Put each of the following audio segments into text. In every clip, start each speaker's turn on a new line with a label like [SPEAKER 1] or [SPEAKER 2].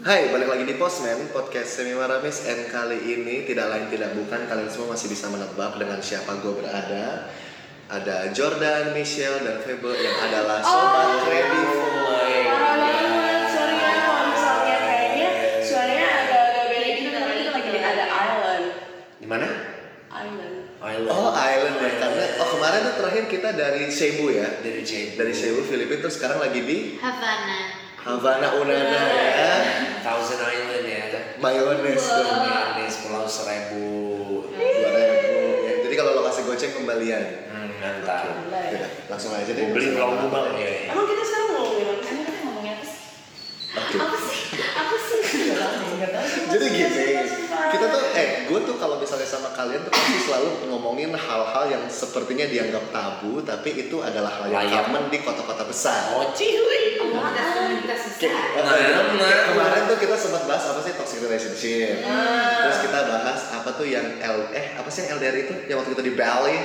[SPEAKER 1] Hai, balik lagi di Postman, podcast Semi Maramis And kali ini tidak lain tidak bukan Kalian semua masih bisa menebak dengan siapa gue berada Ada Jordan, Michelle, dan Febe yang adalah Sobat
[SPEAKER 2] Oh.
[SPEAKER 1] Ready Boy
[SPEAKER 2] Parah banget, sorry ya kalau misalnya kayaknya suaranya agak-agak beda gitu karena kita lagi di ada island.
[SPEAKER 1] Gimana?
[SPEAKER 2] Island.
[SPEAKER 3] Island.
[SPEAKER 1] Oh, Island ya Karena, oh kemarin tuh terakhir kita dari Cebu ya
[SPEAKER 3] dari J.
[SPEAKER 1] Dari Cebu, Filipina, terus sekarang lagi di
[SPEAKER 4] Havana.
[SPEAKER 1] Havana Unana ya
[SPEAKER 3] Thousand Island ya.
[SPEAKER 1] Mayones dong ya.
[SPEAKER 3] Manis Pulau Seribu.
[SPEAKER 1] 2000 ya. Jadi kalau lo kasih goceng kembalian
[SPEAKER 3] Hmm, mantap.
[SPEAKER 1] Yaudah, langsung aja deh
[SPEAKER 3] Gue beli
[SPEAKER 1] Semi
[SPEAKER 3] pulau
[SPEAKER 1] Maramis.
[SPEAKER 3] Kubang ya.
[SPEAKER 2] Emang kita sekarang mau ngomongin apa
[SPEAKER 4] Kamu katanya ngomongin apa sih?
[SPEAKER 1] Oke.
[SPEAKER 4] Apa sih? Apa sih?
[SPEAKER 1] Jadi gini, kita tuh, eh, gue tuh kalau misalnya sama kalian tuh pasti selalu ngomongin hal-hal yang sepertinya dianggap tabu, tapi itu adalah hal yang
[SPEAKER 3] Layak.
[SPEAKER 1] common di kota-kota besar.
[SPEAKER 3] Oh,
[SPEAKER 4] Kamu ada komunitas
[SPEAKER 1] Oke,
[SPEAKER 4] besar.
[SPEAKER 1] eh,
[SPEAKER 3] Nah, nah.
[SPEAKER 1] kemarin tuh kita sempat bahas apa sih toxic relationship. Terus kita bahas apa tuh yang L, eh apa sih yang LDR itu? Yang waktu kita di Bali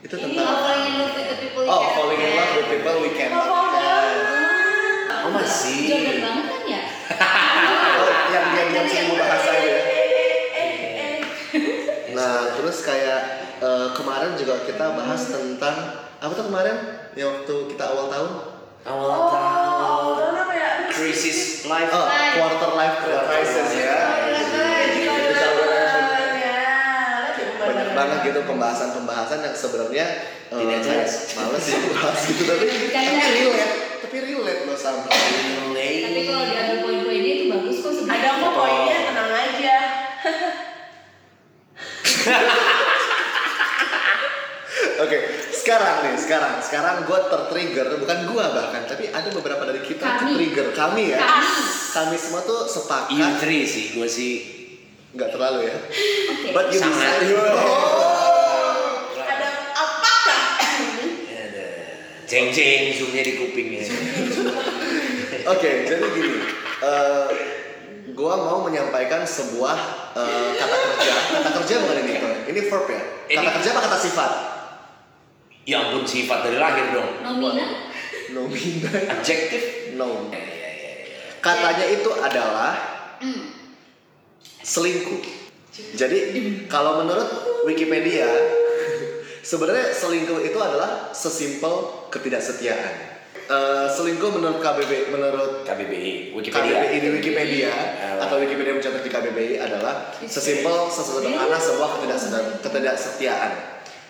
[SPEAKER 1] itu
[SPEAKER 4] Ini
[SPEAKER 1] tentang
[SPEAKER 4] Iya, falling in love with the people you
[SPEAKER 1] oh
[SPEAKER 4] can't
[SPEAKER 1] falling in love with people we can't.
[SPEAKER 2] Apa banget?
[SPEAKER 3] oh
[SPEAKER 4] stand.
[SPEAKER 3] masih.
[SPEAKER 4] Jordan banget kan ya?
[SPEAKER 1] Oh, yang yang yang seribu bahasa itu ya.
[SPEAKER 2] Eh, eh,
[SPEAKER 1] Nah, terus kayak eh, kemarin juga kita bahas tentang apa tuh kemarin yang waktu kita awal tahun?
[SPEAKER 3] Awal
[SPEAKER 2] Oh,
[SPEAKER 3] tahun.
[SPEAKER 2] tahun apa ya?
[SPEAKER 3] Crisis life.
[SPEAKER 1] Oh,
[SPEAKER 4] Life.
[SPEAKER 1] quarter life crisis ya.
[SPEAKER 2] Kita
[SPEAKER 1] Itu tahun
[SPEAKER 2] ya.
[SPEAKER 1] banyak banget gitu pembahasan-pembahasan yang sebenarnya eh,
[SPEAKER 3] Tidak jelas.
[SPEAKER 1] kayak Males sih bahas gitu tapi tapi
[SPEAKER 4] Bercanda.
[SPEAKER 1] relate, tapi relate loh sama.
[SPEAKER 4] Tapi kalau diambil poin-poinnya itu bagus kok
[SPEAKER 2] Ada
[SPEAKER 4] sebenarnya.
[SPEAKER 2] kok poinnya, tenang aja.
[SPEAKER 1] Oke, sekarang nih, sekarang, sekarang gue tertrigger, bukan gua bahkan, tapi ada beberapa dari kita
[SPEAKER 4] Kami.
[SPEAKER 1] tertrigger kami ya.
[SPEAKER 4] Kami.
[SPEAKER 1] Kami semua tuh sepakat,
[SPEAKER 3] Intri E sih, gue sih.
[SPEAKER 1] nggak terlalu ya.
[SPEAKER 4] Oke.
[SPEAKER 1] But you
[SPEAKER 3] Sangat.
[SPEAKER 1] decide. Oh.
[SPEAKER 2] Ada apakah?
[SPEAKER 3] Ada. Jeng jeng zoomnya di ya. kupingnya.
[SPEAKER 1] Oke, jadi gini. eh gua mau menyampaikan sebuah eh, kata kerja. Kata kerja bukan ini, Ton. Ini verb ya. Kata
[SPEAKER 3] Ini-
[SPEAKER 1] kerja apa kata sifat?
[SPEAKER 3] Ya ampun sifat dari lahir dong.
[SPEAKER 4] Nomina.
[SPEAKER 1] Nomina.
[SPEAKER 3] Adjektif.
[SPEAKER 1] No.
[SPEAKER 3] Ya, ya, ya, ya.
[SPEAKER 1] Katanya itu adalah
[SPEAKER 4] Hmm.
[SPEAKER 1] selingkuh. Jadi kalau menurut Wikipedia, sebenarnya selingkuh itu adalah sesimpel ketidaksetiaan. Eh, selingkuh menurut KBB, menurut
[SPEAKER 3] KBBI, Wikipedia.
[SPEAKER 1] KBBI di Wikipedia
[SPEAKER 3] Alah.
[SPEAKER 1] atau Wikipedia mencatat di KBBI adalah sesimpel sesederhana sebuah ketidakseder- ketidaksetiaan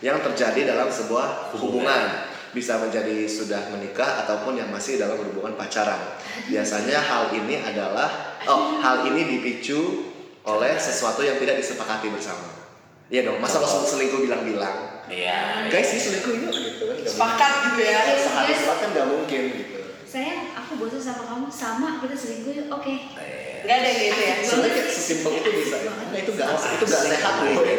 [SPEAKER 1] yang terjadi dalam sebuah hubungan bisa menjadi sudah menikah ataupun yang masih dalam hubungan pacaran. Biasanya hal ini adalah oh hal ini dipicu oleh sesuatu yang tidak disepakati bersama. Iya dong, masa langsung selingkuh bilang-bilang.
[SPEAKER 3] Iya.
[SPEAKER 1] Guys, ini selingkuh ini gitu kan. nggak
[SPEAKER 2] Sepakat gitu ya.
[SPEAKER 1] mungkin. Seharusnya sepakat kan nggak mungkin gitu.
[SPEAKER 4] Sayang, aku bosan sama kamu. Sama, kita selingkuh yuk. Oke.
[SPEAKER 2] Gak ada yang gitu ya.
[SPEAKER 1] Sebenarnya Iya, sesimpel itu bisa. Nah, itu nggak itu nggak sehat gitu. Iya, boy.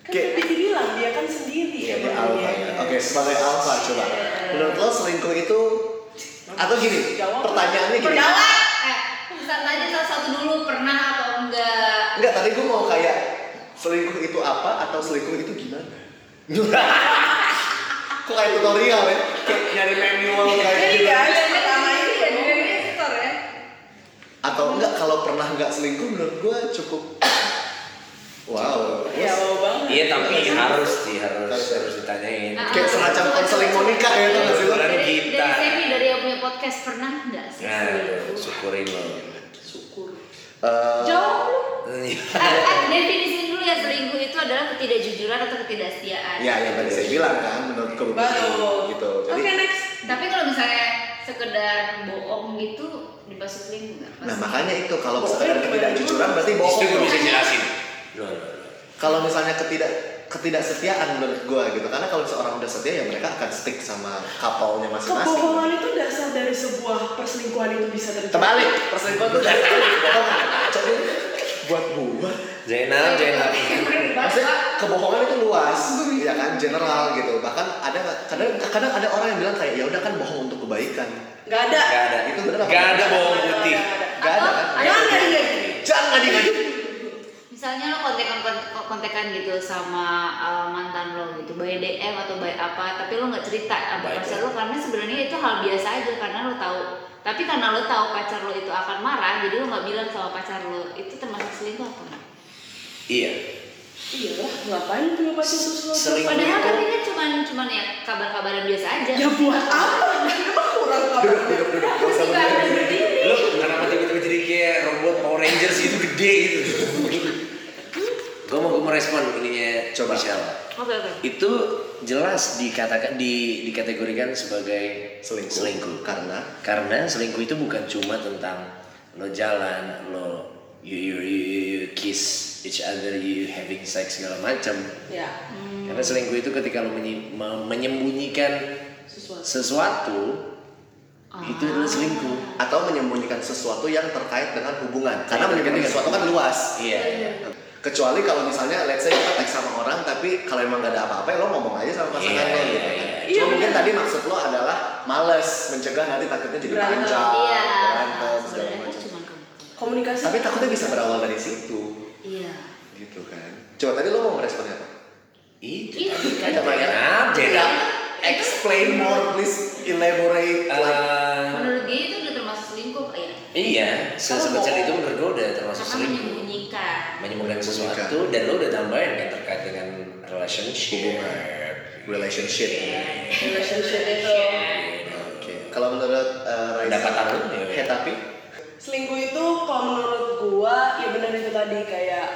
[SPEAKER 2] Kan tadi bilang dia kan sendiri ya.
[SPEAKER 1] Iya, dia
[SPEAKER 2] emang
[SPEAKER 1] alpha.
[SPEAKER 2] dia.
[SPEAKER 1] Oke, sebagai alpha coba. Menurut lo selingkuh itu atau gini,
[SPEAKER 2] Jawab.
[SPEAKER 1] pertanyaannya gini.
[SPEAKER 2] Jawab.
[SPEAKER 4] Eh, kita tanya salah satu dulu. Pernah atau enggak?
[SPEAKER 1] Enggak, tadi gue mau kayak selingkuh itu apa atau selingkuh itu gimana? Kok kayak tutorial ya? Kayak nyari manual kayak
[SPEAKER 2] Jadi
[SPEAKER 1] gitu.
[SPEAKER 2] gak ada yang pertama ini
[SPEAKER 4] Iya, di dunia sektor ya.
[SPEAKER 1] Atau enggak kalau pernah enggak selingkuh menurut gue cukup Wow.
[SPEAKER 2] Iya, wow banget.
[SPEAKER 3] Iya tapi
[SPEAKER 1] Harus-
[SPEAKER 3] harus sih harus
[SPEAKER 1] harus-
[SPEAKER 3] harus ditanyain.
[SPEAKER 4] Ah.
[SPEAKER 1] Kayak semacam konseling mau nikah ya tuh sih lo?
[SPEAKER 3] Kan
[SPEAKER 4] Dari,
[SPEAKER 3] kita.
[SPEAKER 4] dari Semi, dari yang punya podcast pernah enggak sih?
[SPEAKER 3] Nah,
[SPEAKER 4] selingkuh?
[SPEAKER 3] syukurin lo.
[SPEAKER 4] Syukur.
[SPEAKER 1] Eh,
[SPEAKER 2] Jawab lu.
[SPEAKER 3] Iya.
[SPEAKER 4] Eh, eh, definisi dulu ya selingkuh itu adalah ketidakjujuran atau ketidaksetiaan.
[SPEAKER 1] ya yang tadi saya bilang kan menurut gue
[SPEAKER 2] Baru.
[SPEAKER 1] gitu. Jadi
[SPEAKER 2] Oke, next.
[SPEAKER 4] Tapi kalau misalnya sekedar bohong gitu dimasuk selingkuh nggak?
[SPEAKER 1] Nah
[SPEAKER 4] Mas?
[SPEAKER 1] makanya itu kalau
[SPEAKER 2] Bohong
[SPEAKER 1] sekedar
[SPEAKER 2] gimana?
[SPEAKER 1] ketidakjujuran berarti bohong.
[SPEAKER 3] Itu gue
[SPEAKER 1] dong.
[SPEAKER 3] bisa jelasin. Lo, lo, lo.
[SPEAKER 1] Kalau misalnya ketidak ketidaksetiaan menurut gue gitu karena kalau seorang udah setia ya mereka akan stick sama kapalnya masing-masing.
[SPEAKER 2] Kebohongan itu dasar dari sebuah perselingkuhan itu bisa terjadi.
[SPEAKER 1] Terbalik perselingkuhan tuh dari kebohongan. Coba buat buat.
[SPEAKER 3] Zainal, Zainal.
[SPEAKER 1] Maksudnya kebohongan itu luas, ya kan general gitu. Bahkan ada kadang kadang ada orang yang bilang kayak ya udah kan bohong untuk kebaikan.
[SPEAKER 2] Gak ada.
[SPEAKER 3] Gak ada.
[SPEAKER 1] Itu bener apa?
[SPEAKER 3] Gak ada bohong
[SPEAKER 2] Gak ada,
[SPEAKER 3] putih.
[SPEAKER 2] gak ada.
[SPEAKER 1] Gak ada kan?
[SPEAKER 2] Jangan ada yang
[SPEAKER 1] Jangan diingat.
[SPEAKER 4] misalnya lo kontekan kon- kontekan gitu sama uh, mantan lo gitu by DM atau by apa tapi lo nggak
[SPEAKER 3] By
[SPEAKER 4] cerita apa pacar lo karena sebenarnya itu hal biasa aja karena lo tahu tapi karena lo tahu pacar lo itu akan marah jadi lo nggak bilang sama pacar lo itu termasuk selingkuh apa nggak?
[SPEAKER 3] Iya.
[SPEAKER 2] Iya lah, ngapain punya pacar terus lo?
[SPEAKER 3] Selingkuh
[SPEAKER 4] Padahal kan
[SPEAKER 3] itu-
[SPEAKER 4] ini cuman cuman ya kabar-kabaran biasa aja.
[SPEAKER 2] Ya buat apa? Kenapa kurang apa?
[SPEAKER 4] Pasti kabar berdiri.
[SPEAKER 3] Lo kenapa tiba-tiba jadi kayak robot Power Rangers itu gede gitu? gue mau gue mau respon ininya coba Shell.
[SPEAKER 4] Oke oke.
[SPEAKER 3] Itu jelas dikatakan di dikategorikan sebagai
[SPEAKER 1] Selingkuh.
[SPEAKER 3] selingkuh.
[SPEAKER 1] Karena
[SPEAKER 3] Karena selingkuh itu bukan cuma tentang lo jalan, lo you you you, you, you kiss each other, you having sex segala macam.
[SPEAKER 2] Ya,
[SPEAKER 4] Hmm.
[SPEAKER 3] Karena selingkuh itu ketika lo menyi- me- menyembunyikan
[SPEAKER 2] sesuatu.
[SPEAKER 3] sesuatu
[SPEAKER 4] Ah.
[SPEAKER 3] itu adalah selingkuh.
[SPEAKER 1] atau menyembunyikan sesuatu yang terkait dengan hubungan. Karena
[SPEAKER 3] Terkait
[SPEAKER 1] menyembunyikan
[SPEAKER 3] dengan
[SPEAKER 1] sesuatu kan luas.
[SPEAKER 3] Iya. iya.
[SPEAKER 1] Kecuali kalau misalnya let's say kita teks sama orang tapi kalau emang gak ada apa-apa ya lo ngomong aja sama pasangan lo
[SPEAKER 3] Iya, iya,
[SPEAKER 1] gitu. kan.
[SPEAKER 3] iya.
[SPEAKER 2] Iya,
[SPEAKER 1] Cuma mungkin
[SPEAKER 2] bener.
[SPEAKER 1] tadi maksud lo adalah males mencegah nanti takutnya jadi
[SPEAKER 2] Berantem.
[SPEAKER 1] panjang,
[SPEAKER 4] Iya.
[SPEAKER 1] berantem segala
[SPEAKER 4] Sebenarnya
[SPEAKER 1] macam.
[SPEAKER 4] cuman kamu.
[SPEAKER 2] Komunikasi.
[SPEAKER 1] Tapi takutnya bisa berawal dari situ
[SPEAKER 4] Iya.
[SPEAKER 1] gitu kan. Coba tadi lo mau meresponnya apa?
[SPEAKER 3] Itu.
[SPEAKER 4] Iya.
[SPEAKER 1] Ada
[SPEAKER 4] kan?
[SPEAKER 1] banyak.
[SPEAKER 3] Kenapa ya?
[SPEAKER 1] Explain more please elaborate
[SPEAKER 4] Iya.
[SPEAKER 1] like
[SPEAKER 3] Eh,
[SPEAKER 4] Menurut dia itu udah termasuk selingkuh ya.
[SPEAKER 3] iya, se- sebesar itu menurut gue udah termasuk
[SPEAKER 4] Karena
[SPEAKER 3] selingkuh.
[SPEAKER 4] menyembunyikan.
[SPEAKER 3] Menyembunyikan sesuatu dan lo udah tambahin kan terkait dengan relationship.
[SPEAKER 1] relationship.
[SPEAKER 2] Relationship itu.
[SPEAKER 1] Oke. Kalau menurut eh, Raisa,
[SPEAKER 3] Pendapatan lu, ya.
[SPEAKER 1] eh, tapi
[SPEAKER 2] Selingkuh itu kalau menurut gua ya benar itu tadi kayak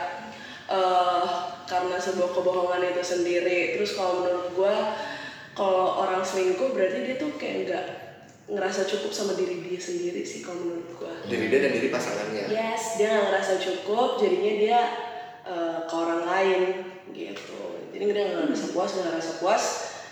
[SPEAKER 2] eh karena sebuah kebohongan itu sendiri. Terus kalau menurut gua kalau orang selingkuh berarti dia tuh kayak nggak ngerasa cukup sama diri dia sendiri sih kalau menurut gua.
[SPEAKER 1] diri dia dan diri pasangannya.
[SPEAKER 2] Yes, dia nggak ngerasa cukup, jadinya dia eh, ke orang lain gitu. Jadi dia nggak ngerasa puas, nggak ngerasa puas.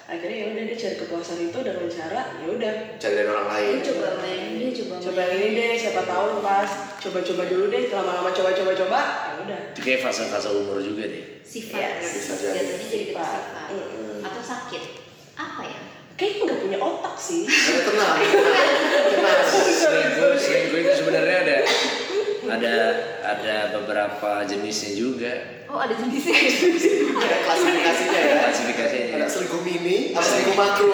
[SPEAKER 2] Akhirnya ya udah dia cari kepuasan itu dengan cara ya udah
[SPEAKER 1] Cari dari orang lain.
[SPEAKER 4] Dia coba main, dia coba main.
[SPEAKER 2] coba yang ini deh, siapa tahu pas coba-coba dulu deh, lama-lama coba-coba-coba, ya udah.
[SPEAKER 3] Itu kayak fase-fase umur juga deh.
[SPEAKER 4] Sifat.
[SPEAKER 2] Yes,
[SPEAKER 1] bisa jadi.
[SPEAKER 4] Jatuhnya Iya, jadi ke
[SPEAKER 2] Sifat.
[SPEAKER 4] sifat.
[SPEAKER 2] Mm-mm.
[SPEAKER 4] Atau sakit. Apa ya?
[SPEAKER 2] Kayaknya nggak punya otak sih.
[SPEAKER 1] Ada tenang. tenang.
[SPEAKER 3] selingkuh selingkuh itu sebenarnya ada ada ada beberapa jenisnya juga
[SPEAKER 4] Oh ada jenisnya.
[SPEAKER 1] Ada Iya, klasifikasinya ya. Ada
[SPEAKER 3] klasifikasinya
[SPEAKER 1] selingkuh mini, ada selingkuh makro.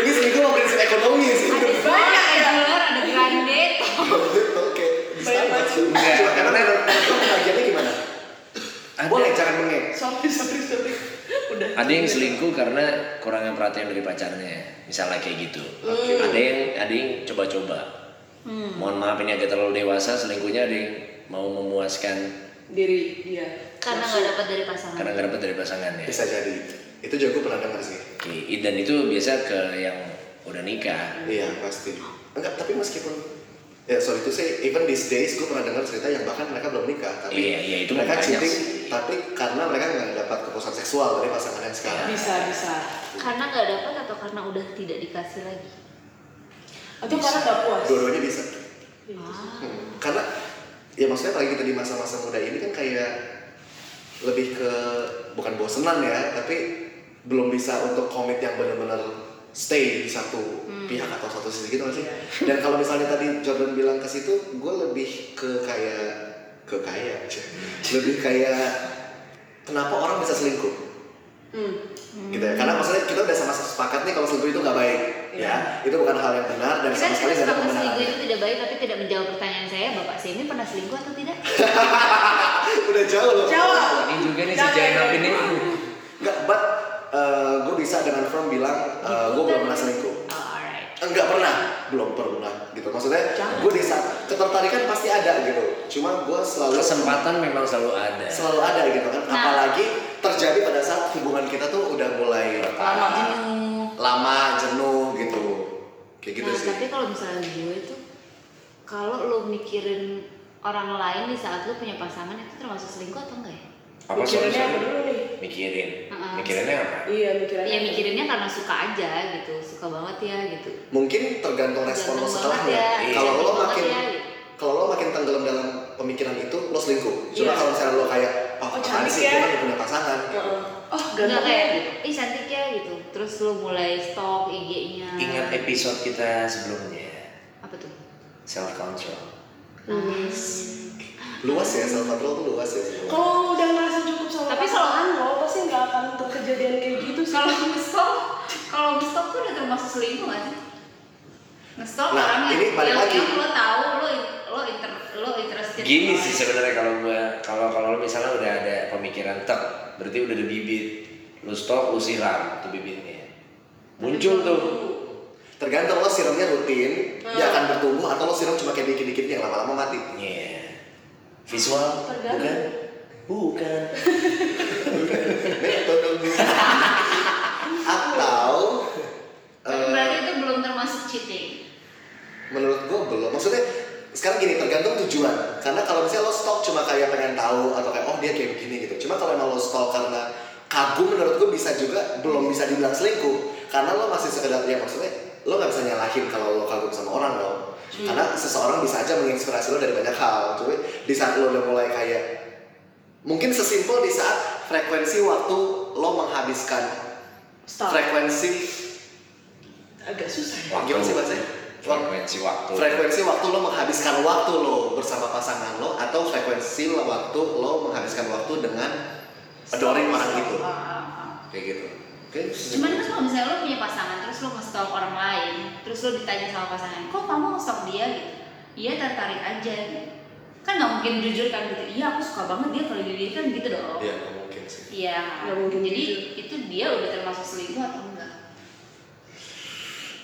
[SPEAKER 1] Ini selingkuh sama prinsip ekonomi sih.
[SPEAKER 4] ada banyak ada dolar, ada grande.
[SPEAKER 1] Oke. Bisa
[SPEAKER 2] Banyak
[SPEAKER 1] Mas.
[SPEAKER 2] macam.
[SPEAKER 1] Enggak. Karena menurut kamu bagiannya gimana?
[SPEAKER 3] Ada.
[SPEAKER 1] Boleh jangan mengek.
[SPEAKER 2] Sorry, sorry, sorry. Udah.
[SPEAKER 3] ada yang selingkuh karena kurangnya perhatian dari pacarnya misalnya kayak gitu ada yang ada yang coba-coba mohon maaf ini agak terlalu dewasa selingkuhnya ada yang mau memuaskan
[SPEAKER 2] Diri dia.
[SPEAKER 4] Karena nggak dapat dari pasangan.
[SPEAKER 3] karena nggak dapat dari pasangannya
[SPEAKER 1] Bisa jadi. Itu juga gue pernah dengar sih.
[SPEAKER 3] Oke, dan itu biasa ke yang udah nikah
[SPEAKER 1] Iya pasti. Enggak, tapi meskipun ya sorry itu sih, even these days gue pernah dengar cerita yang bahkan mereka belum nikah, tapi
[SPEAKER 3] Iya, iya, itu
[SPEAKER 1] mereka
[SPEAKER 3] banyak
[SPEAKER 1] cheating,
[SPEAKER 3] sih.
[SPEAKER 1] tapi karena mereka nggak dapat kepuasan seksual dari pasangan yang sekarang.
[SPEAKER 2] Bisa, bisa.
[SPEAKER 4] Karena nggak dapat atau karena udah tidak dikasih lagi.
[SPEAKER 2] Atau karena nggak
[SPEAKER 3] Iya.
[SPEAKER 2] puas.
[SPEAKER 1] Dua-duanya bisa.
[SPEAKER 4] Ah.
[SPEAKER 1] Hmm. Karena ya maksudnya apalagi kita di masa-masa muda ini kan kayak lebih ke bukan bosenan ya, tapi belum bisa untuk komit yang benar-benar stay di satu pihak atau satu sisi gitu nggak sih. Dan kalau misalnya tadi Jordan bilang ke situ, gue lebih ke kayak ke kayak lebih kayak kenapa orang bisa selingkuh?
[SPEAKER 2] Hmm.
[SPEAKER 1] gitu ya karena maksudnya kita udah sama sepakat nih kalau selingkuh itu nggak baik
[SPEAKER 2] Iya.
[SPEAKER 1] ya itu bukan hal yang benar dan
[SPEAKER 4] Kita
[SPEAKER 1] sama sekali
[SPEAKER 4] kita
[SPEAKER 1] nggak ada
[SPEAKER 4] sepakat selingkuh
[SPEAKER 1] pembenaran
[SPEAKER 4] itu tidak baik tapi tidak menjawab pertanyaan saya. Bapak Semi pernah selingkuh atau tidak?
[SPEAKER 1] Eh, udah jauh loh
[SPEAKER 2] Jawab.
[SPEAKER 3] ini juga nih si
[SPEAKER 2] Jangan.
[SPEAKER 3] Jainal ini
[SPEAKER 1] nggak but gue bisa dengan firm bilang gue belum pernah selingkuh
[SPEAKER 4] Oh, Gitu alright.
[SPEAKER 1] enggak pernah belum pernah gitu maksudnya
[SPEAKER 2] Jangan.
[SPEAKER 1] gue di saat ketertarikan pasti ada gitu cuma gue selalu
[SPEAKER 3] kesempatan memang selalu ada
[SPEAKER 1] selalu ada gitu kan
[SPEAKER 4] Nah.
[SPEAKER 1] apalagi terjadi pada saat hubungan kita tuh udah mulai
[SPEAKER 2] Lama.
[SPEAKER 1] Oh.
[SPEAKER 4] Jenuh.
[SPEAKER 1] lama jenuh gitu kayak gitu
[SPEAKER 4] nah,
[SPEAKER 1] sih
[SPEAKER 4] tapi kalau misalnya gue itu kalau lo mikirin orang lain di saat lo punya pasangan itu termasuk selingkuh atau enggak ya?
[SPEAKER 3] apa sih
[SPEAKER 2] Mikirinnya apa dulu nih?
[SPEAKER 3] mikirin
[SPEAKER 4] Heeh.
[SPEAKER 3] mikirinnya apa
[SPEAKER 2] Iya, mikirannya.
[SPEAKER 4] Ya mikirinnya karena suka aja gitu, suka banget ya gitu.
[SPEAKER 1] mungkin tergantung respon lo
[SPEAKER 4] Tergantung banget
[SPEAKER 1] setelahnya.
[SPEAKER 4] ya.
[SPEAKER 1] Kalau lo
[SPEAKER 4] Tergantung
[SPEAKER 1] makin
[SPEAKER 4] banget ya.
[SPEAKER 1] kalau lo makin tenggelam dalam pemikiran itu, lo selingkuh. Cuma
[SPEAKER 2] Iya.
[SPEAKER 1] kalau misalnya lo kayak, oh,
[SPEAKER 2] Oh,
[SPEAKER 1] apaan
[SPEAKER 2] cantik
[SPEAKER 1] sih,
[SPEAKER 2] ya.
[SPEAKER 1] gue lagi punya pasangan.
[SPEAKER 2] Heeh. Oh,
[SPEAKER 4] Enggak
[SPEAKER 2] ganteng.
[SPEAKER 4] kayak gitu. Ih cantik ya gitu. Terus lo mulai stalk IG-nya.
[SPEAKER 3] Ingat
[SPEAKER 1] eh.
[SPEAKER 3] episode kita sebelumnya,
[SPEAKER 4] Apa tuh?
[SPEAKER 3] self control.
[SPEAKER 4] Nice.
[SPEAKER 1] luas ya self control tuh luas ya sebenarnya.
[SPEAKER 2] Kalau udah ngerasa cukup sama
[SPEAKER 4] Tapi
[SPEAKER 2] pasangan lo, pasti nggak akan terkejadian kayak gitu sih.
[SPEAKER 4] Kalau ngestop, kalau ngestop tuh udah termasuk selingkuh kan? Ngestop
[SPEAKER 1] Nah,
[SPEAKER 4] orang
[SPEAKER 1] ini
[SPEAKER 4] yang,
[SPEAKER 1] balik
[SPEAKER 4] yang,
[SPEAKER 1] lagi.
[SPEAKER 4] yang lo tahu lo lo inter lo interested.
[SPEAKER 3] Gini
[SPEAKER 4] sama
[SPEAKER 3] sih
[SPEAKER 4] orang.
[SPEAKER 3] sebenarnya kalau gua kalau kalau lu misalnya udah ada pemikiran tek, berarti udah ada bibit. Lu stok, lu siram tuh bibitnya. Muncul tuh.
[SPEAKER 1] Tergantung lo siramnya rutin, dia akan bertumbuh atau lo siram cuma kayak dikit-dikit yang lama-lama mati.
[SPEAKER 3] Yeah. Iya. Visual,
[SPEAKER 2] Tergantung.
[SPEAKER 3] bukan? Bukan.
[SPEAKER 1] Betul dong. atau eh,
[SPEAKER 4] Tapi Kan Berarti itu belum termasuk cheating.
[SPEAKER 1] menurut gue belum maksudnya sekarang gini tergantung tujuan karena kalau misalnya lo stalk cuma kayak pengen tahu atau kayak oh dia kayak begini gitu cuma kalau emang lo stalk karena kagum menurut gue bisa juga belum bisa dibilang selingkuh karena lo masih sekedar ya maksudnya lo nggak bisa nyalahin kalau lo kagum sama orang dong karena seseorang bisa aja menginspirasi lo dari banyak hal cuy di saat lo udah mulai kayak mungkin sesimpel di saat frekuensi waktu lo menghabiskan
[SPEAKER 2] Stop.
[SPEAKER 1] frekuensi
[SPEAKER 2] Agak susah. ya.
[SPEAKER 1] Gimana sih bahasanya?
[SPEAKER 3] Frekuensi waktu.
[SPEAKER 1] frekuensi waktu lo menghabiskan waktu lo bersama pasangan lo atau frekuensi lo waktu lo menghabiskan waktu dengan adoring orang gitu. itu
[SPEAKER 4] Ah, ah, ah.
[SPEAKER 1] kayak gitu oke
[SPEAKER 4] Cuman kan kalau misalnya lo punya pasangan terus lo nge-stalk orang lain, terus lo ditanya sama pasangan, kok kamu nge-stalk dia gitu? Iya tertarik aja. gitu. Kan nggak mungkin jujur kan gitu. Iya aku suka banget dia kalau dia kan gitu dong.
[SPEAKER 1] iya nggak mungkin sih
[SPEAKER 4] Iya.
[SPEAKER 2] Nggak mungkin
[SPEAKER 4] Jadi
[SPEAKER 2] jujur.
[SPEAKER 4] itu dia udah termasuk selingkuh atau enggak?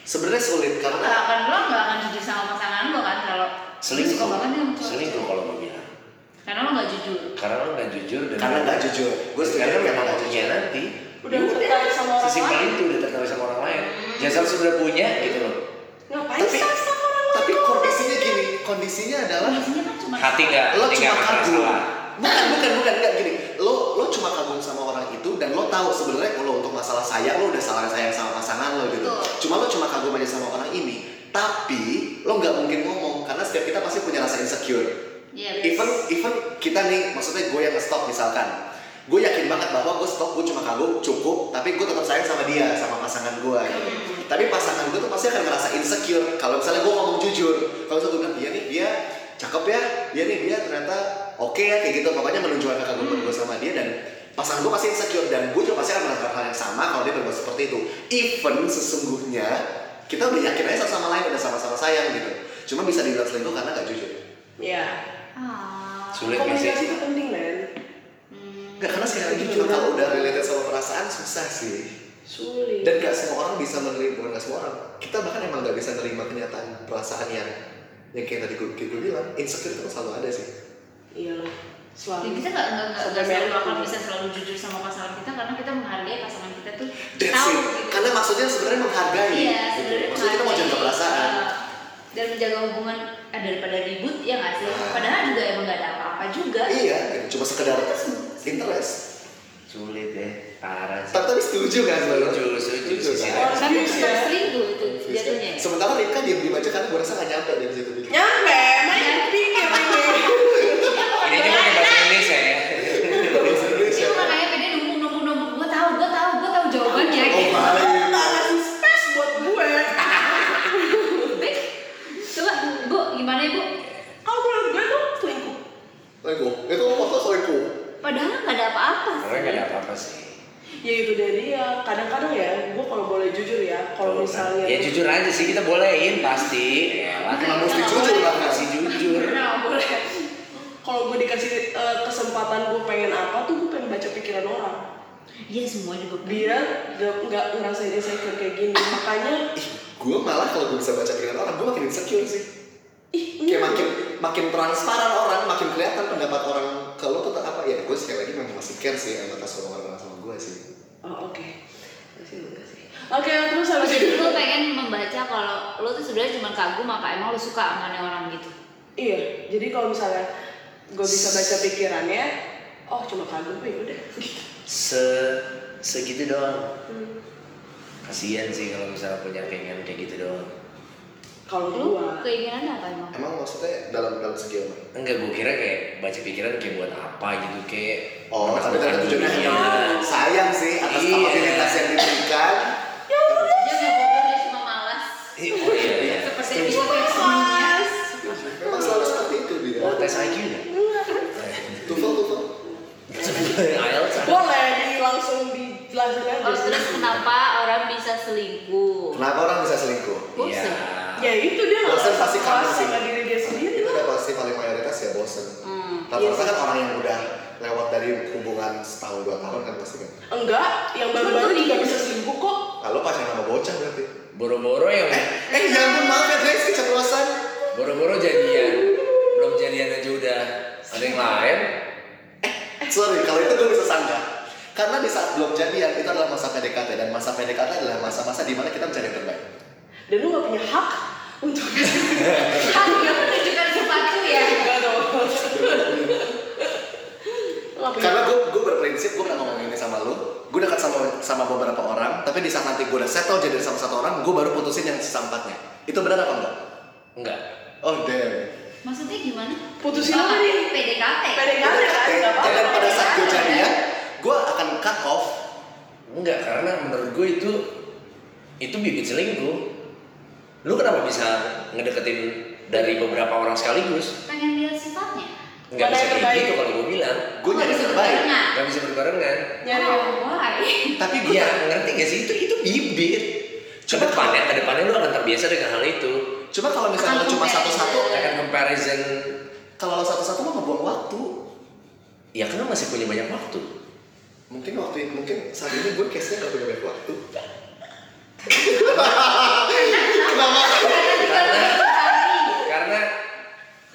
[SPEAKER 1] sebenarnya sulit
[SPEAKER 4] Lo
[SPEAKER 1] karena
[SPEAKER 4] nggak akan lo nggak akan jujur sama pasangan lo kan kalau lo suka
[SPEAKER 3] Selingkuh.
[SPEAKER 4] banget dia sama cowok.
[SPEAKER 3] Selingkuh kalau gua bilang.
[SPEAKER 4] Karena lo nggak jujur.
[SPEAKER 3] Karena lo nggak jujur dan
[SPEAKER 1] karena nggak jujur gue
[SPEAKER 3] karena
[SPEAKER 1] sebenarnya
[SPEAKER 3] memang iya.
[SPEAKER 1] memang nggak
[SPEAKER 3] punya
[SPEAKER 1] jujur
[SPEAKER 3] nanti.
[SPEAKER 2] Udah
[SPEAKER 3] ya
[SPEAKER 2] tertarik sama orang
[SPEAKER 3] Sesimpel
[SPEAKER 2] lain. Hmm.
[SPEAKER 3] itu udah tertarik sama orang lain. Jasa sudah punya gitu loh.
[SPEAKER 2] Ngapain
[SPEAKER 1] tapi
[SPEAKER 2] sih sama orang lain?
[SPEAKER 1] tapi kondisinya gini kondisinya adalah
[SPEAKER 4] Biasanya kan cuma
[SPEAKER 3] Hati nggak?
[SPEAKER 1] lo
[SPEAKER 3] hati
[SPEAKER 1] cuma
[SPEAKER 3] nggak akan
[SPEAKER 1] kagum
[SPEAKER 3] Iya, salah.
[SPEAKER 1] bukan bukan bukan enggak gini lo lo cuma kagum sama orang itu dan lo tahu sebenarnya kalau untuk masalah sayang lo udah salah sayang sama pasangan lo gitu
[SPEAKER 4] Betul.
[SPEAKER 1] cuma lo cuma kagum aja sama orang ini tapi lo nggak mungkin ngomong karena setiap kita pasti punya rasa insecure
[SPEAKER 4] Iya.
[SPEAKER 1] even even kita nih maksudnya gue yang nge-stalk misalkan gue yakin banget bahwa gue stok gue cuma kagum cukup tapi gue tetap sayang sama dia sama pasangan gue gitu. tapi pasangan gue tuh pasti akan ngerasa insecure kalau misalnya gue ngomong jujur kalau misalnya gue bilang dia nih dia cakep ya dia nih dia ternyata oke ya kayak gitu pokoknya menunjukkan kekaguman gue sama dia dan pasangan gue pasti insecure dan gue juga pasti akan melakukan hal yang sama kalau dia berbuat seperti itu even sesungguhnya kita udah yakin aja satu sama lain udah sama-sama sayang gitu cuma bisa dibilang selingkuh karena gak jujur
[SPEAKER 2] Ya.
[SPEAKER 4] Ah.
[SPEAKER 3] Sulit nggak sih?
[SPEAKER 2] Komunikasi itu penting, men.
[SPEAKER 4] Hmm.
[SPEAKER 1] Enggak, karena sekali lagi cuma kalau udah related sama perasaan susah sih.
[SPEAKER 2] Sulit.
[SPEAKER 1] Dan gak semua orang bisa menerima, bukan gak semua orang. Kita bahkan emang gak bisa menerima kenyataan perasaan yang yang kayak tadi gue, gue bilang, insecure itu selalu ada sih.
[SPEAKER 2] Iyalah.
[SPEAKER 4] Ya,
[SPEAKER 2] Selalu.
[SPEAKER 4] kita nggak nggak nggak
[SPEAKER 2] Iya
[SPEAKER 4] nggak
[SPEAKER 2] Sampai
[SPEAKER 4] selalu
[SPEAKER 2] merah
[SPEAKER 4] akan
[SPEAKER 2] tuh.
[SPEAKER 4] bisa selalu jujur sama pasangan kita karena kita menghargai pasangan kita tuh
[SPEAKER 1] That's
[SPEAKER 4] tahu
[SPEAKER 1] it.
[SPEAKER 4] gitu.
[SPEAKER 1] Karena maksudnya sebenarnya menghargai.
[SPEAKER 4] iya
[SPEAKER 1] gitu.
[SPEAKER 4] sebenarnya
[SPEAKER 1] Maksudnya kita mau jaga
[SPEAKER 4] menghargai,
[SPEAKER 1] perasaan.
[SPEAKER 4] uh, dan menjaga hubungan eh, daripada ribut ya nggak sih
[SPEAKER 1] Ah.
[SPEAKER 4] padahal juga emang nggak ada apa-apa juga
[SPEAKER 1] Iya, gitu. cuma sekedar interest.
[SPEAKER 3] Sulit ya, parah sih.
[SPEAKER 1] Tapi tadi setuju kan sebenarnya?
[SPEAKER 3] Setuju, setuju, sisi
[SPEAKER 1] kan?
[SPEAKER 2] lain.
[SPEAKER 4] tapi
[SPEAKER 2] Serius
[SPEAKER 4] itu
[SPEAKER 2] ya?
[SPEAKER 4] selingkuh itu
[SPEAKER 1] Iya,
[SPEAKER 4] jatuhnya ya?
[SPEAKER 1] Sementara Rifka diem-diem aja karena gue rasa gak nyampe dari situ.
[SPEAKER 2] Nyampe, main
[SPEAKER 4] Iya.
[SPEAKER 2] pinggir ini.
[SPEAKER 3] Ini juga di
[SPEAKER 2] Nah,
[SPEAKER 3] bahasa Indonesia ya.
[SPEAKER 1] Bahasa
[SPEAKER 4] itu
[SPEAKER 1] Indonesia.
[SPEAKER 4] makanya PD numpuk numpuk numpuk gue tahu gue tahu gue tahu jawabannya
[SPEAKER 1] iya. Oh,
[SPEAKER 4] gitu
[SPEAKER 1] my.
[SPEAKER 2] Lo nggak ngasih space buat gue.
[SPEAKER 4] Bek, coba bu gimana ya bu
[SPEAKER 2] Kalau menurut gue tuh selingkuh.
[SPEAKER 1] Lengkuh. Itu waktu selingkuh.
[SPEAKER 4] padahal nggak ada apa-apa
[SPEAKER 3] Karena
[SPEAKER 4] sih
[SPEAKER 3] nggak ada apa-apa sih.
[SPEAKER 2] Ya itu dia dia. Kadang-kadang ya, gue kalau boleh jujur ya, kalau misalnya
[SPEAKER 3] ya jujur aja sih kita bolehin pasti. Ya, lah,
[SPEAKER 1] Emang
[SPEAKER 4] Bukan.
[SPEAKER 1] mesti jujur lah.
[SPEAKER 3] masih jujur.
[SPEAKER 4] Nah, boleh
[SPEAKER 2] kalau gue dikasih eh, kesempatan gue pengen apa tuh gue pengen baca pikiran orang
[SPEAKER 4] Iya semua juga
[SPEAKER 2] dia nggak nggak ngerasain insecure kayak gini makanya
[SPEAKER 1] Ih, gue malah kalau gue bisa baca pikiran orang, gue makin insecure sih.
[SPEAKER 2] ih
[SPEAKER 1] Kayak makin makin transparan orang, makin kelihatan pendapat orang ke lo tuh apa ya? Gue sekali lagi memang masih care sih sama atas omongan orang sama gue sih.
[SPEAKER 2] oh, oke Masih enggak sih. oke terus habis
[SPEAKER 4] Jadi
[SPEAKER 2] itu
[SPEAKER 4] lu pengen membaca kalau lu tuh sebenarnya cuma kagum apa emang lu suka sama orang gitu.
[SPEAKER 2] iya jadi kalau misalnya gue bisa baca pikirannya oh cuma kagum ya udah gitu
[SPEAKER 3] Se segitu doang. Kasihan sih kalau misalnya punya keinginan kayak gitu doang.
[SPEAKER 2] kalau
[SPEAKER 4] Lu
[SPEAKER 2] gue
[SPEAKER 4] keinginan apa emang?
[SPEAKER 1] Emang maksudnya dalam dalam segi apa?
[SPEAKER 3] Enggak, gue kira kayak baca pikiran kayak buat apa gitu kayak.
[SPEAKER 1] Oh, tapi
[SPEAKER 3] bukan
[SPEAKER 1] ternyata tujuannya
[SPEAKER 3] dunia.
[SPEAKER 1] hanya sayang sih atas
[SPEAKER 3] Iya.
[SPEAKER 1] kapabilitas yang diberikan.
[SPEAKER 4] Dia nggak bodoh, dia cuma malas.
[SPEAKER 3] Eh, oh iya, iya.
[SPEAKER 4] Seperti itu yang semuanya.
[SPEAKER 1] Memang selalu seperti itu dia.
[SPEAKER 3] Oh, tes IQ ya?
[SPEAKER 2] Enggak.
[SPEAKER 4] Oh,
[SPEAKER 5] bisa selingkuh
[SPEAKER 1] Kenapa orang bisa selingkuh?
[SPEAKER 3] Iya.
[SPEAKER 5] bosen
[SPEAKER 2] ya itu dia nggak
[SPEAKER 1] Bosen pasti
[SPEAKER 2] puas
[SPEAKER 1] kangen sih.
[SPEAKER 2] Iya, sama diri dia sendiri
[SPEAKER 1] Itu udah pasti paling mayoritas ya bosen.
[SPEAKER 5] Hmm.
[SPEAKER 1] Rata-rata kan orang yang udah lewat dari hubungan setahun dua tahun kan pasti kan.
[SPEAKER 2] enggak yang baru-baru
[SPEAKER 5] Bener,
[SPEAKER 2] juga
[SPEAKER 5] iya.
[SPEAKER 2] bisa selingkuh kok
[SPEAKER 1] Lalu pacaran sama bocah berarti.
[SPEAKER 3] Boro-boro yang
[SPEAKER 1] Eh, eh ya ampun maaf ya Tracy keceplosan.
[SPEAKER 3] boro-boro jadian, belum jadian aja udah ada yang lain.
[SPEAKER 1] Sorry, kalau itu gue bisa sanggah. Karena di saat belum jadian itu adalah masa PDKT dan masa PDKT adalah masa-masa di mana kita mencari yang terbaik.
[SPEAKER 2] dan lu nggak punya hak untuk ya.
[SPEAKER 4] Aduh, yang menunjukkan sepatu ya.
[SPEAKER 2] enggak dong Lu nggak punya
[SPEAKER 1] Karena gue gue berprinsip gue pernah ngomong ini sama lu. Gue dekat sama sama beberapa orang, tapi di saat nanti gue udah settle jadi sama satu orang, gue baru putusin yang sisa empatnya. Itu benar apa enggak?
[SPEAKER 3] Enggak.
[SPEAKER 1] Oh damn.
[SPEAKER 4] Maksudnya gimana?
[SPEAKER 2] Putusin
[SPEAKER 4] Apa?
[SPEAKER 2] apa nih?
[SPEAKER 4] PDKT.
[SPEAKER 2] PDKT kan
[SPEAKER 1] Eh,
[SPEAKER 2] nggak
[SPEAKER 1] Dan
[SPEAKER 2] apa-apa
[SPEAKER 1] pada saat gue jadian, gue akan cut off.
[SPEAKER 3] Enggak, karena menurut gue itu itu bibit selingkuh. Lu kenapa bisa ngedeketin dari beberapa orang sekaligus?
[SPEAKER 4] Pengen lihat sifatnya.
[SPEAKER 3] Enggak
[SPEAKER 2] Mana
[SPEAKER 3] bisa
[SPEAKER 2] yang
[SPEAKER 3] kayak
[SPEAKER 2] terbaik?
[SPEAKER 3] gitu kalau gue bilang.
[SPEAKER 1] Gue nyari yang terbaik.
[SPEAKER 4] Nah,
[SPEAKER 3] Enggak bisa berbarengan.
[SPEAKER 2] nyari
[SPEAKER 4] oh,
[SPEAKER 2] yang-
[SPEAKER 4] why?
[SPEAKER 1] Tapi gue
[SPEAKER 3] Iya, ngerti gak sih? Itu itu bibit. Coba kedepannya, kedepannya lu akan terbiasa dengan hal itu.
[SPEAKER 1] Cuma kalau misalnya lo cuma satu-satu,
[SPEAKER 3] Akan comparison,
[SPEAKER 1] kalau lo satu-satu mah ngebuang waktu.
[SPEAKER 3] ya karena masih punya banyak waktu.
[SPEAKER 1] Mungkin waktu mungkin saat ini gue case-nya gak punya banyak waktu. Kenapa?
[SPEAKER 3] Karena, karena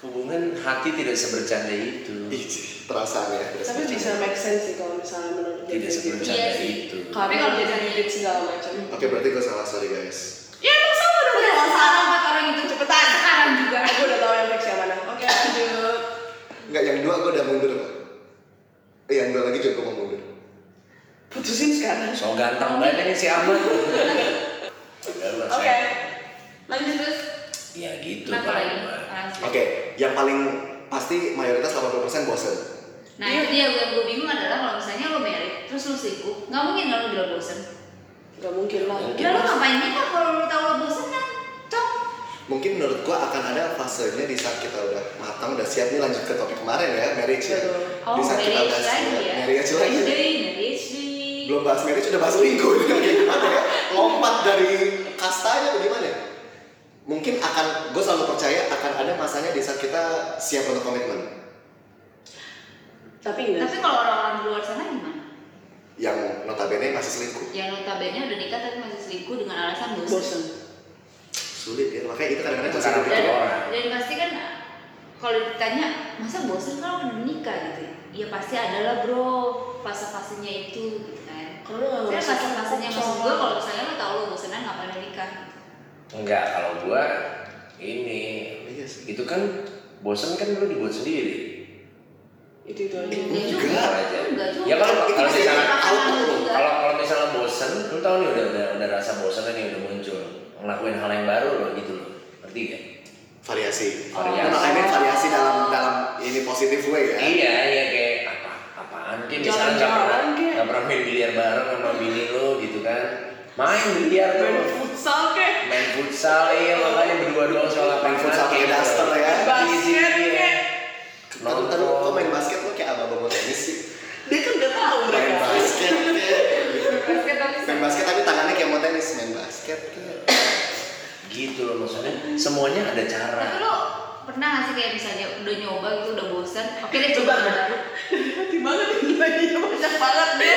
[SPEAKER 3] hubungan hati tidak sebercanda itu.
[SPEAKER 1] Ih, ya, perasaannya.
[SPEAKER 2] tapi bisa make sense sih kalau misalnya menurut dia
[SPEAKER 3] Tidak
[SPEAKER 2] kayak gitu
[SPEAKER 3] sebercanda
[SPEAKER 4] Iya sih.
[SPEAKER 3] itu.
[SPEAKER 2] tapi kalau jadi bibit segala macam
[SPEAKER 1] Oke, berarti gue salah, sorry guys.
[SPEAKER 2] ya emang sama dong
[SPEAKER 4] Udah salah empat orang itu cepetan sekarang juga.
[SPEAKER 2] aku udah tahu yang fix yang mana oke lanjut
[SPEAKER 1] Enggak, yang dua gue udah mundur kok. Eh, yang dua lagi juga gue mau mundur.
[SPEAKER 2] putusin sekarang
[SPEAKER 3] So ganteng banget ini si Ahmad.
[SPEAKER 2] oke lanjut terus
[SPEAKER 3] Ya gitu. kalau
[SPEAKER 4] Kenapa lagi?
[SPEAKER 3] gua.
[SPEAKER 4] Orang
[SPEAKER 1] Oke, yang paling pasti mayoritas 80% bosen.
[SPEAKER 4] Nah itu dia yang gue bingung adalah kalau misalnya lo married terus lo sibuk, nggak mungkin kan lo bilang bosen.
[SPEAKER 2] Gak mungkin lah.
[SPEAKER 4] Ya lo ngapain nikah kalau lo tahu lo bosen kan? Cok.
[SPEAKER 1] Mungkin menurut gue akan ada fasenya di saat kita udah matang, udah siap nih lanjut ke topik kemarin ya, marriage ya.
[SPEAKER 2] Betul.
[SPEAKER 4] Oh
[SPEAKER 1] di saat kita
[SPEAKER 4] marriage
[SPEAKER 1] udah siap,
[SPEAKER 4] lagi ya.
[SPEAKER 1] marriage lagi.
[SPEAKER 4] Day, marriage day.
[SPEAKER 1] Belum bahas marriage udah bahas selingkuh nih, kayak gimana ya? Lompat dari kastanya atau gimana? ya? Mungkin akan, gue selalu percaya akan ada masanya di saat kita siap untuk komitmen.
[SPEAKER 2] Tapi enggak.
[SPEAKER 4] Tapi kalau orang-orang di luar sana gimana?
[SPEAKER 1] yang notabene masih selingkuh
[SPEAKER 4] Yang notabene udah nikah tapi masih selingkuh dengan alasan bosen.
[SPEAKER 2] bosen.
[SPEAKER 1] sulit ya makanya itu kadang-kadang
[SPEAKER 3] Itu
[SPEAKER 1] masih
[SPEAKER 3] karena
[SPEAKER 1] ada
[SPEAKER 4] Dan,
[SPEAKER 3] orang.
[SPEAKER 4] dan pasti kan kalau ditanya masa bosen kalau udah nikah gitu? Ya pasti adalah bro fase-fasenya itu gitu kan.
[SPEAKER 2] Kalau lu nggak
[SPEAKER 4] Saya
[SPEAKER 2] ngerasa
[SPEAKER 4] fase fasenya maksud gue kalau misalnya lo tau lo bosenan ngapain lo nikah?
[SPEAKER 3] Enggak, kalau gua ini
[SPEAKER 1] iya sih
[SPEAKER 3] itu kan bosen kan lu dibuat sendiri.
[SPEAKER 2] itu itu aja.
[SPEAKER 4] Enggak juga,
[SPEAKER 1] Enggak
[SPEAKER 3] aja.
[SPEAKER 4] enggak juga.
[SPEAKER 3] Ya kalau
[SPEAKER 1] Itu
[SPEAKER 3] kalau
[SPEAKER 1] masih
[SPEAKER 3] misalnya
[SPEAKER 1] auto.
[SPEAKER 4] juga.
[SPEAKER 3] kalau kalau misalnya bosen, lu tau nih udah udah, udah rasa bosen kan nih udah muncul ngelakuin hal yang baru loh gitu loh. Ngerti gak?
[SPEAKER 1] variasi
[SPEAKER 4] Oh.
[SPEAKER 1] variasi makanya variasi dalam dalam ini positif way ya
[SPEAKER 3] Iya, iya kayak apa apaan kayak misalnya nggak
[SPEAKER 2] Jalan-jalan
[SPEAKER 3] pernah
[SPEAKER 2] kek.
[SPEAKER 3] nggak pernah main biliar bareng sama bini lo gitu kan? Main biliar tuh,
[SPEAKER 2] Main futsal kek.
[SPEAKER 3] main futsal iya makanya berdua doang soal apa?
[SPEAKER 1] Main futsal
[SPEAKER 3] gitu.
[SPEAKER 1] kayak duster
[SPEAKER 3] Iya,
[SPEAKER 1] ya.
[SPEAKER 2] Basket kek.
[SPEAKER 1] lalu lalu kok main basket lo kayak abang abang tenis sih
[SPEAKER 2] Dia kan nggak tahu
[SPEAKER 1] main
[SPEAKER 2] mereka.
[SPEAKER 1] basket kayak gitu.
[SPEAKER 4] Basket tapi
[SPEAKER 1] main basket tapi tangannya kayak mau tenis main basket kayak.
[SPEAKER 3] Gitu loh maksudnya, semuanya ada cara.
[SPEAKER 4] Tapi lo pernah nggak sih kayak misalnya udah nyoba gitu udah bosen, oke deh coba
[SPEAKER 2] Coba.
[SPEAKER 4] baru.
[SPEAKER 2] Hati banget ini bayinya banyak banget deh.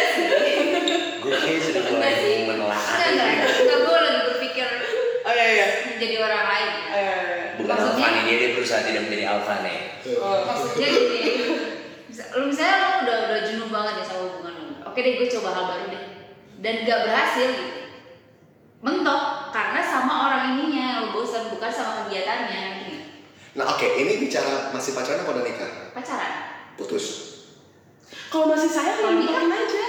[SPEAKER 3] Gue kayaknya sudah mulai
[SPEAKER 4] Enggak sih?
[SPEAKER 3] menelaah.
[SPEAKER 4] Enggak enggak. Enggak gue lagi berpikir
[SPEAKER 2] Oh iya iya.
[SPEAKER 4] menjadi orang lain.
[SPEAKER 2] Oh, iya, iya.
[SPEAKER 3] Bukan
[SPEAKER 4] Maksudnya?
[SPEAKER 3] Alfani, dia, dia berusaha tidak menjadi Alfani.
[SPEAKER 2] Oh.
[SPEAKER 4] Maksudnya gini, bisa- lo misalnya lo udah udah jenuh banget ya sama hubungan lo, oke deh gue coba hal baru deh, dan gak berhasil gitu. Mentok karena sama orang ininya lo bosen bukan sama kegiatannya, gitu. ngerti nggak?
[SPEAKER 1] nah oke ini bicara masih pacaran apa udah nikah
[SPEAKER 4] pacaran.
[SPEAKER 1] putus
[SPEAKER 2] Kalau masih sayang
[SPEAKER 4] Kalau
[SPEAKER 2] kalau
[SPEAKER 4] nikah?
[SPEAKER 2] nikah aja.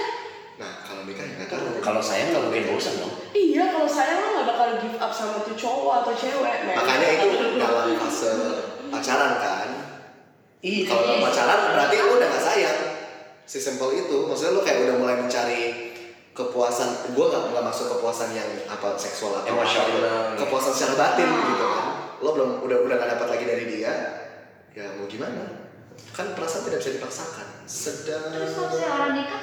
[SPEAKER 1] nah kalau nikah ya nggak tahu
[SPEAKER 3] Kalau saya nggak mungkin bosan dong.
[SPEAKER 2] Iya, kalau sayang lo nggak bakal give up sama tuh cowok atau cewek. men.
[SPEAKER 1] makanya itu dalam fase pacaran kan
[SPEAKER 3] Iya.
[SPEAKER 1] kalau udah pacaran berarti lu udah gak sayang sesimpel itu maksudnya lu kayak udah mulai mencari kepuasan gue gak, nggak masuk kepuasan yang apa seksual atau apa,
[SPEAKER 3] Emosional.
[SPEAKER 1] kepuasan secara batin gitu kan lo belum udah udah gak dapat lagi dari dia ya mau gimana kan perasaan tidak bisa dipaksakan sedang
[SPEAKER 4] Terus kalau misalnya orang nikah,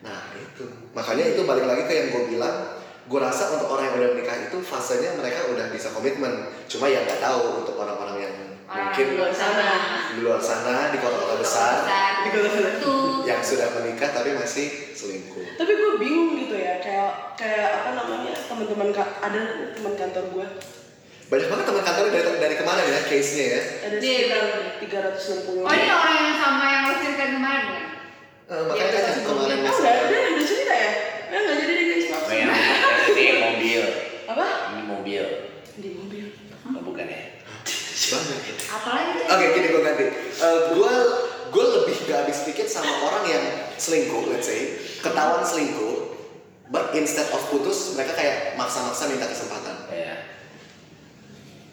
[SPEAKER 1] nah itu makanya itu balik lagi ke yang gue bilang gue rasa untuk orang yang udah menikah itu fasenya mereka udah bisa komitmen cuma ya nggak tahu untuk orang-orang yang
[SPEAKER 4] Orang
[SPEAKER 1] mungkin
[SPEAKER 4] di luar sana.
[SPEAKER 1] di luar sana di kota-kota besar
[SPEAKER 2] Di kota-kota.
[SPEAKER 4] Tuh.
[SPEAKER 1] yang sudah menikah tapi masih selingkuh
[SPEAKER 2] tapi gue bingung gitu ya kayak kayak apa namanya teman-teman ka- ada teman kantor gue
[SPEAKER 1] banyak banget teman kantor dari, dari kemarin ya case nya ya
[SPEAKER 2] ada
[SPEAKER 4] Iya,
[SPEAKER 2] sekitar
[SPEAKER 4] iya.
[SPEAKER 2] 360
[SPEAKER 4] Oh ini orang yang sama yang lo ceritain kemarin ya?
[SPEAKER 1] Eh, makanya kan
[SPEAKER 4] Iya,
[SPEAKER 1] yang Oh, iya. kemarin
[SPEAKER 2] Oh,
[SPEAKER 1] masih
[SPEAKER 2] udah udah udah cerita ya Eh, nggak jadi deh guys maaf
[SPEAKER 3] Kayak ini mobil,
[SPEAKER 2] apa
[SPEAKER 3] ini mobil,
[SPEAKER 2] di mobil
[SPEAKER 3] oh, bukan ya?
[SPEAKER 1] banget
[SPEAKER 4] Apalagi tuh?
[SPEAKER 1] Oke, gini gue ganti. gue gue lebih gak habis pikir sama orang yang selingkuh, let's say, ketahuan selingkuh, but instead of putus, mereka kayak maksa-maksa minta kesempatan.
[SPEAKER 3] Iya.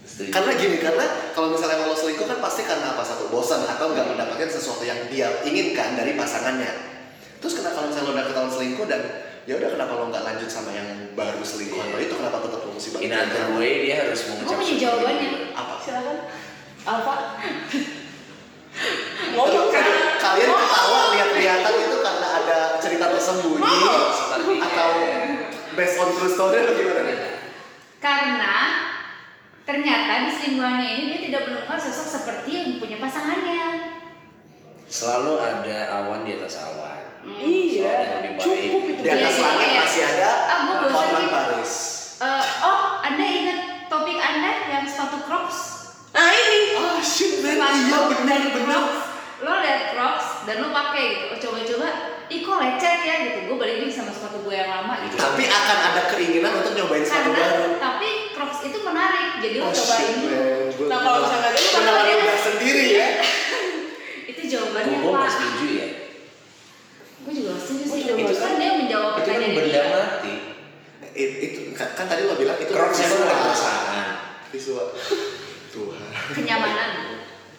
[SPEAKER 3] Setuju.
[SPEAKER 1] Karena gini, karena kalau misalnya emang lo selingkuh kan pasti karena apa satu bosan atau nggak mendapatkan sesuatu yang dia inginkan dari pasangannya. Terus kenapa kalau misalnya lo udah ketahuan selingkuh dan ya udah kenapa lo nggak lanjut sama yang baru selingkuhan lo itu kenapa tetap lo mesti balik?
[SPEAKER 3] in other way dia harus
[SPEAKER 4] Gue
[SPEAKER 3] mengucap
[SPEAKER 4] punya
[SPEAKER 3] syukur.
[SPEAKER 4] jawabannya.
[SPEAKER 1] Apa?
[SPEAKER 2] silakan apa ngomong kan
[SPEAKER 1] Kalian- Kalian ketawa lihat-lihatan itu karena ada cerita tersembunyi atau based on true story atau gimana
[SPEAKER 4] Iya,
[SPEAKER 1] nih?
[SPEAKER 4] Karena ternyata di selingkuhannya ini dia tidak menemukan sosok seperti yang punya pasangannya.
[SPEAKER 3] Selalu ada awan di atas awan.
[SPEAKER 4] Hmm.
[SPEAKER 2] iya
[SPEAKER 3] Soalnya lebih baik.
[SPEAKER 2] cukup itu
[SPEAKER 1] Di atas
[SPEAKER 4] Iya,
[SPEAKER 1] langit
[SPEAKER 4] iya.
[SPEAKER 1] masih ada
[SPEAKER 4] Ah, gua bosan
[SPEAKER 1] Norman
[SPEAKER 4] nih.
[SPEAKER 1] Paris.
[SPEAKER 4] Eh, oh, anda ingat topik anda yang sepatu Crocs?
[SPEAKER 2] nah ini
[SPEAKER 1] Ah shit man,
[SPEAKER 4] Sepatu
[SPEAKER 1] iya benar
[SPEAKER 4] dan
[SPEAKER 1] benar.
[SPEAKER 4] Crocs. Lo liat Crocs dan lo pakai gitu. Oh, coba-coba, ih kok lecet ya gitu. Gue balikin sama sepatu gue yang lama gitu.
[SPEAKER 1] Tapi akan ada keinginan untuk nyobain Iya, sepatu
[SPEAKER 4] Karena
[SPEAKER 1] baru.
[SPEAKER 4] tapi Crocs itu menarik, jadi lo
[SPEAKER 1] Oh,
[SPEAKER 4] cobain
[SPEAKER 1] shit,
[SPEAKER 4] dulu.
[SPEAKER 1] man. Gua
[SPEAKER 2] Nah, kalau
[SPEAKER 1] beneran-
[SPEAKER 2] misalnya
[SPEAKER 4] gitu,
[SPEAKER 2] dia-
[SPEAKER 1] beneran udah sendiri ya.
[SPEAKER 4] Itu
[SPEAKER 3] Gue
[SPEAKER 4] jawabannya
[SPEAKER 3] gue nggak
[SPEAKER 4] pak.
[SPEAKER 3] setuju ya.
[SPEAKER 4] Gue juga setuju sih.
[SPEAKER 2] Gua juga
[SPEAKER 4] Itu
[SPEAKER 2] nggak
[SPEAKER 4] kan dia menjawab
[SPEAKER 3] Itu kan
[SPEAKER 4] pertanyaan
[SPEAKER 3] benda
[SPEAKER 4] dia.
[SPEAKER 3] mati.
[SPEAKER 4] Iya.
[SPEAKER 1] It- itu kan, kan tadi lo bilang itu
[SPEAKER 3] Crocs itu
[SPEAKER 1] visual.
[SPEAKER 3] ada pasangan.
[SPEAKER 1] Visual. Tuhan.
[SPEAKER 4] Kenyamanan.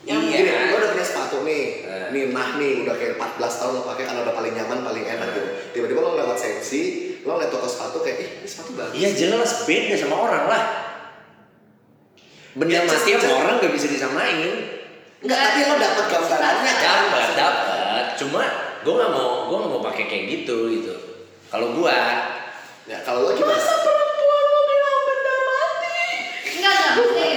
[SPEAKER 1] yang
[SPEAKER 3] Iya.
[SPEAKER 1] gini, lo udah punya sepatu nih,
[SPEAKER 3] Eh.
[SPEAKER 1] nih nah nih udah kayak 14 tahun lo pakai karena udah paling nyaman, paling enak gitu. Tiba-tiba lo lewat sensi, lo liat toko sepatu kayak, ih ini sepatu bagus.
[SPEAKER 3] Iya jelas beda sama orang lah. Benda
[SPEAKER 1] Ya,
[SPEAKER 3] mati
[SPEAKER 1] just-
[SPEAKER 3] sama orang gak bisa disamain.
[SPEAKER 1] Enggak, tapi lo dapet gambarannya kan?
[SPEAKER 3] Dapat, dapat. Cuma gue nggak mau, gue nggak mau pakai kayak gitu gitu. Kalau gue,
[SPEAKER 1] Ya kalau lo gimana?
[SPEAKER 2] masa perempuan lo bilang benda mati
[SPEAKER 4] Enggak enggak. Oke.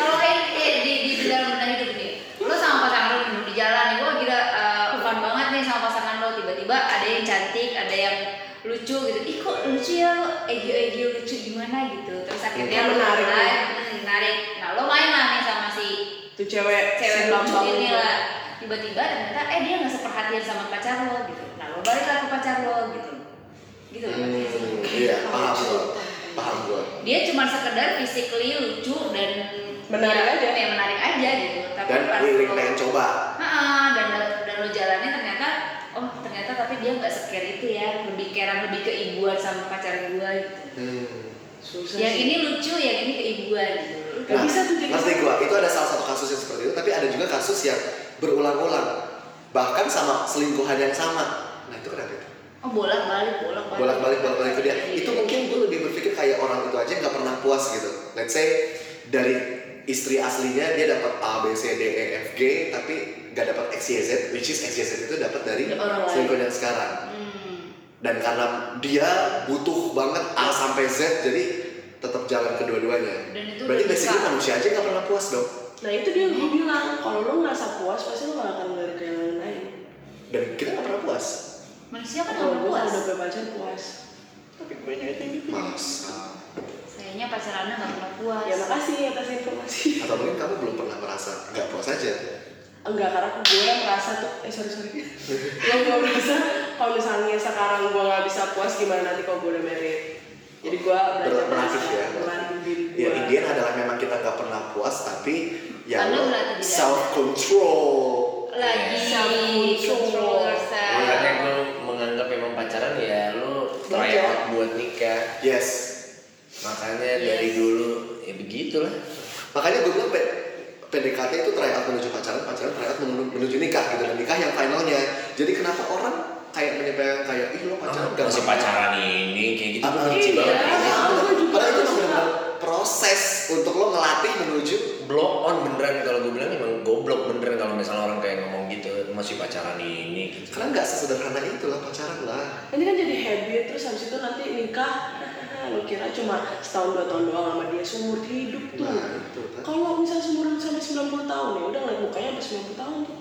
[SPEAKER 4] Kalau kayak eh, di di di dalam benda hidup nih. Lo sama pasangan lo duduk di jalan nih. Wah gila eh, fun banget nih sama pasangan lo. Tiba-tiba ada yang cantik, ada yang lucu gitu. Ih kok lucu ya lo? Egio-egio lucu gimana gitu. Terus akhirnya lo
[SPEAKER 2] Menarik.
[SPEAKER 4] main, hmm, menarik. Nah lo main lah nih sama si
[SPEAKER 2] tuh cewek
[SPEAKER 4] cewek
[SPEAKER 2] si
[SPEAKER 4] lucu
[SPEAKER 2] Bambang
[SPEAKER 4] ini
[SPEAKER 2] itu.
[SPEAKER 4] lah tiba-tiba ternyata eh dia nggak seperhatian sama pacar lo gitu nah lo balik ke pacar lo gitu gitu
[SPEAKER 1] Hmm, iya, paham gue, paham gue.
[SPEAKER 4] dia cuma sekedar physically lucu dan
[SPEAKER 2] Menarik
[SPEAKER 4] ya,
[SPEAKER 2] aja.
[SPEAKER 4] ya, menarik aja gitu tapi
[SPEAKER 1] Dan
[SPEAKER 4] pas
[SPEAKER 1] willing
[SPEAKER 4] lo-
[SPEAKER 1] pengen coba.
[SPEAKER 4] Ah, dan dan lo jalannya ternyata oh ternyata tapi dia nggak scare itu ya lebih keran lebih keibuan sama pacar gue gitu
[SPEAKER 1] Hmm.
[SPEAKER 2] susah
[SPEAKER 4] yang
[SPEAKER 2] sih.
[SPEAKER 4] ini lucu yang ini keibuan gitu
[SPEAKER 2] Gak bisa tuh jadi
[SPEAKER 1] Nah, ngerti gua, itu ada salah satu kasus yang seperti itu, tapi ada juga kasus yang berulang-ulang. Bahkan sama selingkuhan yang sama. Nah itu kenapa itu?
[SPEAKER 4] oh Iya. bolak balik bolak balik
[SPEAKER 1] bolak-balik bolak-balik ke dia itu mungkin gue lebih berpikir kayak orang itu aja nggak pernah puas gitu let's say dari istri aslinya dia dapat A B C D E F G tapi nggak dapat X Y Z which is X Y Z itu dapat dari
[SPEAKER 2] Orang lain.
[SPEAKER 1] selingkuh yang sekarang
[SPEAKER 4] Hmm.
[SPEAKER 1] dan karena dia butuh banget A sampai Z jadi tetap jalan kedua-duanya
[SPEAKER 4] Dan itu
[SPEAKER 1] berarti
[SPEAKER 4] udah
[SPEAKER 1] basically
[SPEAKER 4] bisa.
[SPEAKER 1] manusia aja nggak pernah puas dong
[SPEAKER 2] nah itu dia gue bilang kalau lo ngerasa puas pasti lo gak akan ngelirik yang lain lain
[SPEAKER 1] dan kita nggak pernah puas
[SPEAKER 4] manusia kan
[SPEAKER 2] kalau
[SPEAKER 4] nggak
[SPEAKER 2] gue
[SPEAKER 4] puas
[SPEAKER 2] udah punya pacar puas tapi gue nyeritain gitu
[SPEAKER 1] masa
[SPEAKER 4] Sayangnya pacarannya nggak pernah puas.
[SPEAKER 2] ya makasih atas informasi
[SPEAKER 1] atau mungkin kamu belum pernah merasa nggak puas aja
[SPEAKER 2] enggak karena gue yang merasa tuh eh sorry sorry gue gue merasa kalau misalnya sekarang gue nggak bisa puas gimana nanti kalau gue udah married jadi gue belajar
[SPEAKER 1] Berlatih
[SPEAKER 2] merasa,
[SPEAKER 1] ya.
[SPEAKER 2] melatih diri
[SPEAKER 1] Ya
[SPEAKER 2] gua.
[SPEAKER 1] Indian adalah memang kita nggak pernah puas tapi ya
[SPEAKER 4] Karena
[SPEAKER 1] lo
[SPEAKER 4] berarti tidak.
[SPEAKER 1] self control.
[SPEAKER 4] Lagi
[SPEAKER 2] Self-control.
[SPEAKER 4] control yourself.
[SPEAKER 3] makanya gue menganggap memang pacaran ya lo try
[SPEAKER 2] Belajar.
[SPEAKER 3] out buat nikah.
[SPEAKER 1] Yes.
[SPEAKER 3] Makanya
[SPEAKER 4] Yes.
[SPEAKER 3] dari dulu ya begitulah.
[SPEAKER 1] Makanya gue bilang P- PDKT itu tryout menuju pacaran, pacaran tryout menuju, menuju nikah gitu dan nikah yang finalnya. Jadi kenapa orang kayak menyepelekan kayak ih lo pacaran nggak
[SPEAKER 3] masih
[SPEAKER 1] pernah."
[SPEAKER 3] pacaran ini kayak gitu
[SPEAKER 1] Ah,
[SPEAKER 3] gue
[SPEAKER 1] ah.
[SPEAKER 3] benci banget.
[SPEAKER 1] Ah,
[SPEAKER 2] Aku juga
[SPEAKER 1] Padahal itu
[SPEAKER 2] suka.
[SPEAKER 1] benar-benar proses untuk lo ngelatih menuju
[SPEAKER 3] Block on beneran kalau gue bilang emang goblok beneran kalau misalnya orang kayak ngomong gitu masih pacaran ini gitu.
[SPEAKER 1] karena nggak sesederhana itu lah pacaran lah.
[SPEAKER 2] ini kan jadi habit terus habis itu nanti nikah lu kira cuma setahun dua tahun doang sama dia seumur hidup tuh
[SPEAKER 1] Nah, itu kan.
[SPEAKER 2] kalau misal seumuran sampai 90 tahun ya udah ngeliat mukanya udah 90 tahun tuh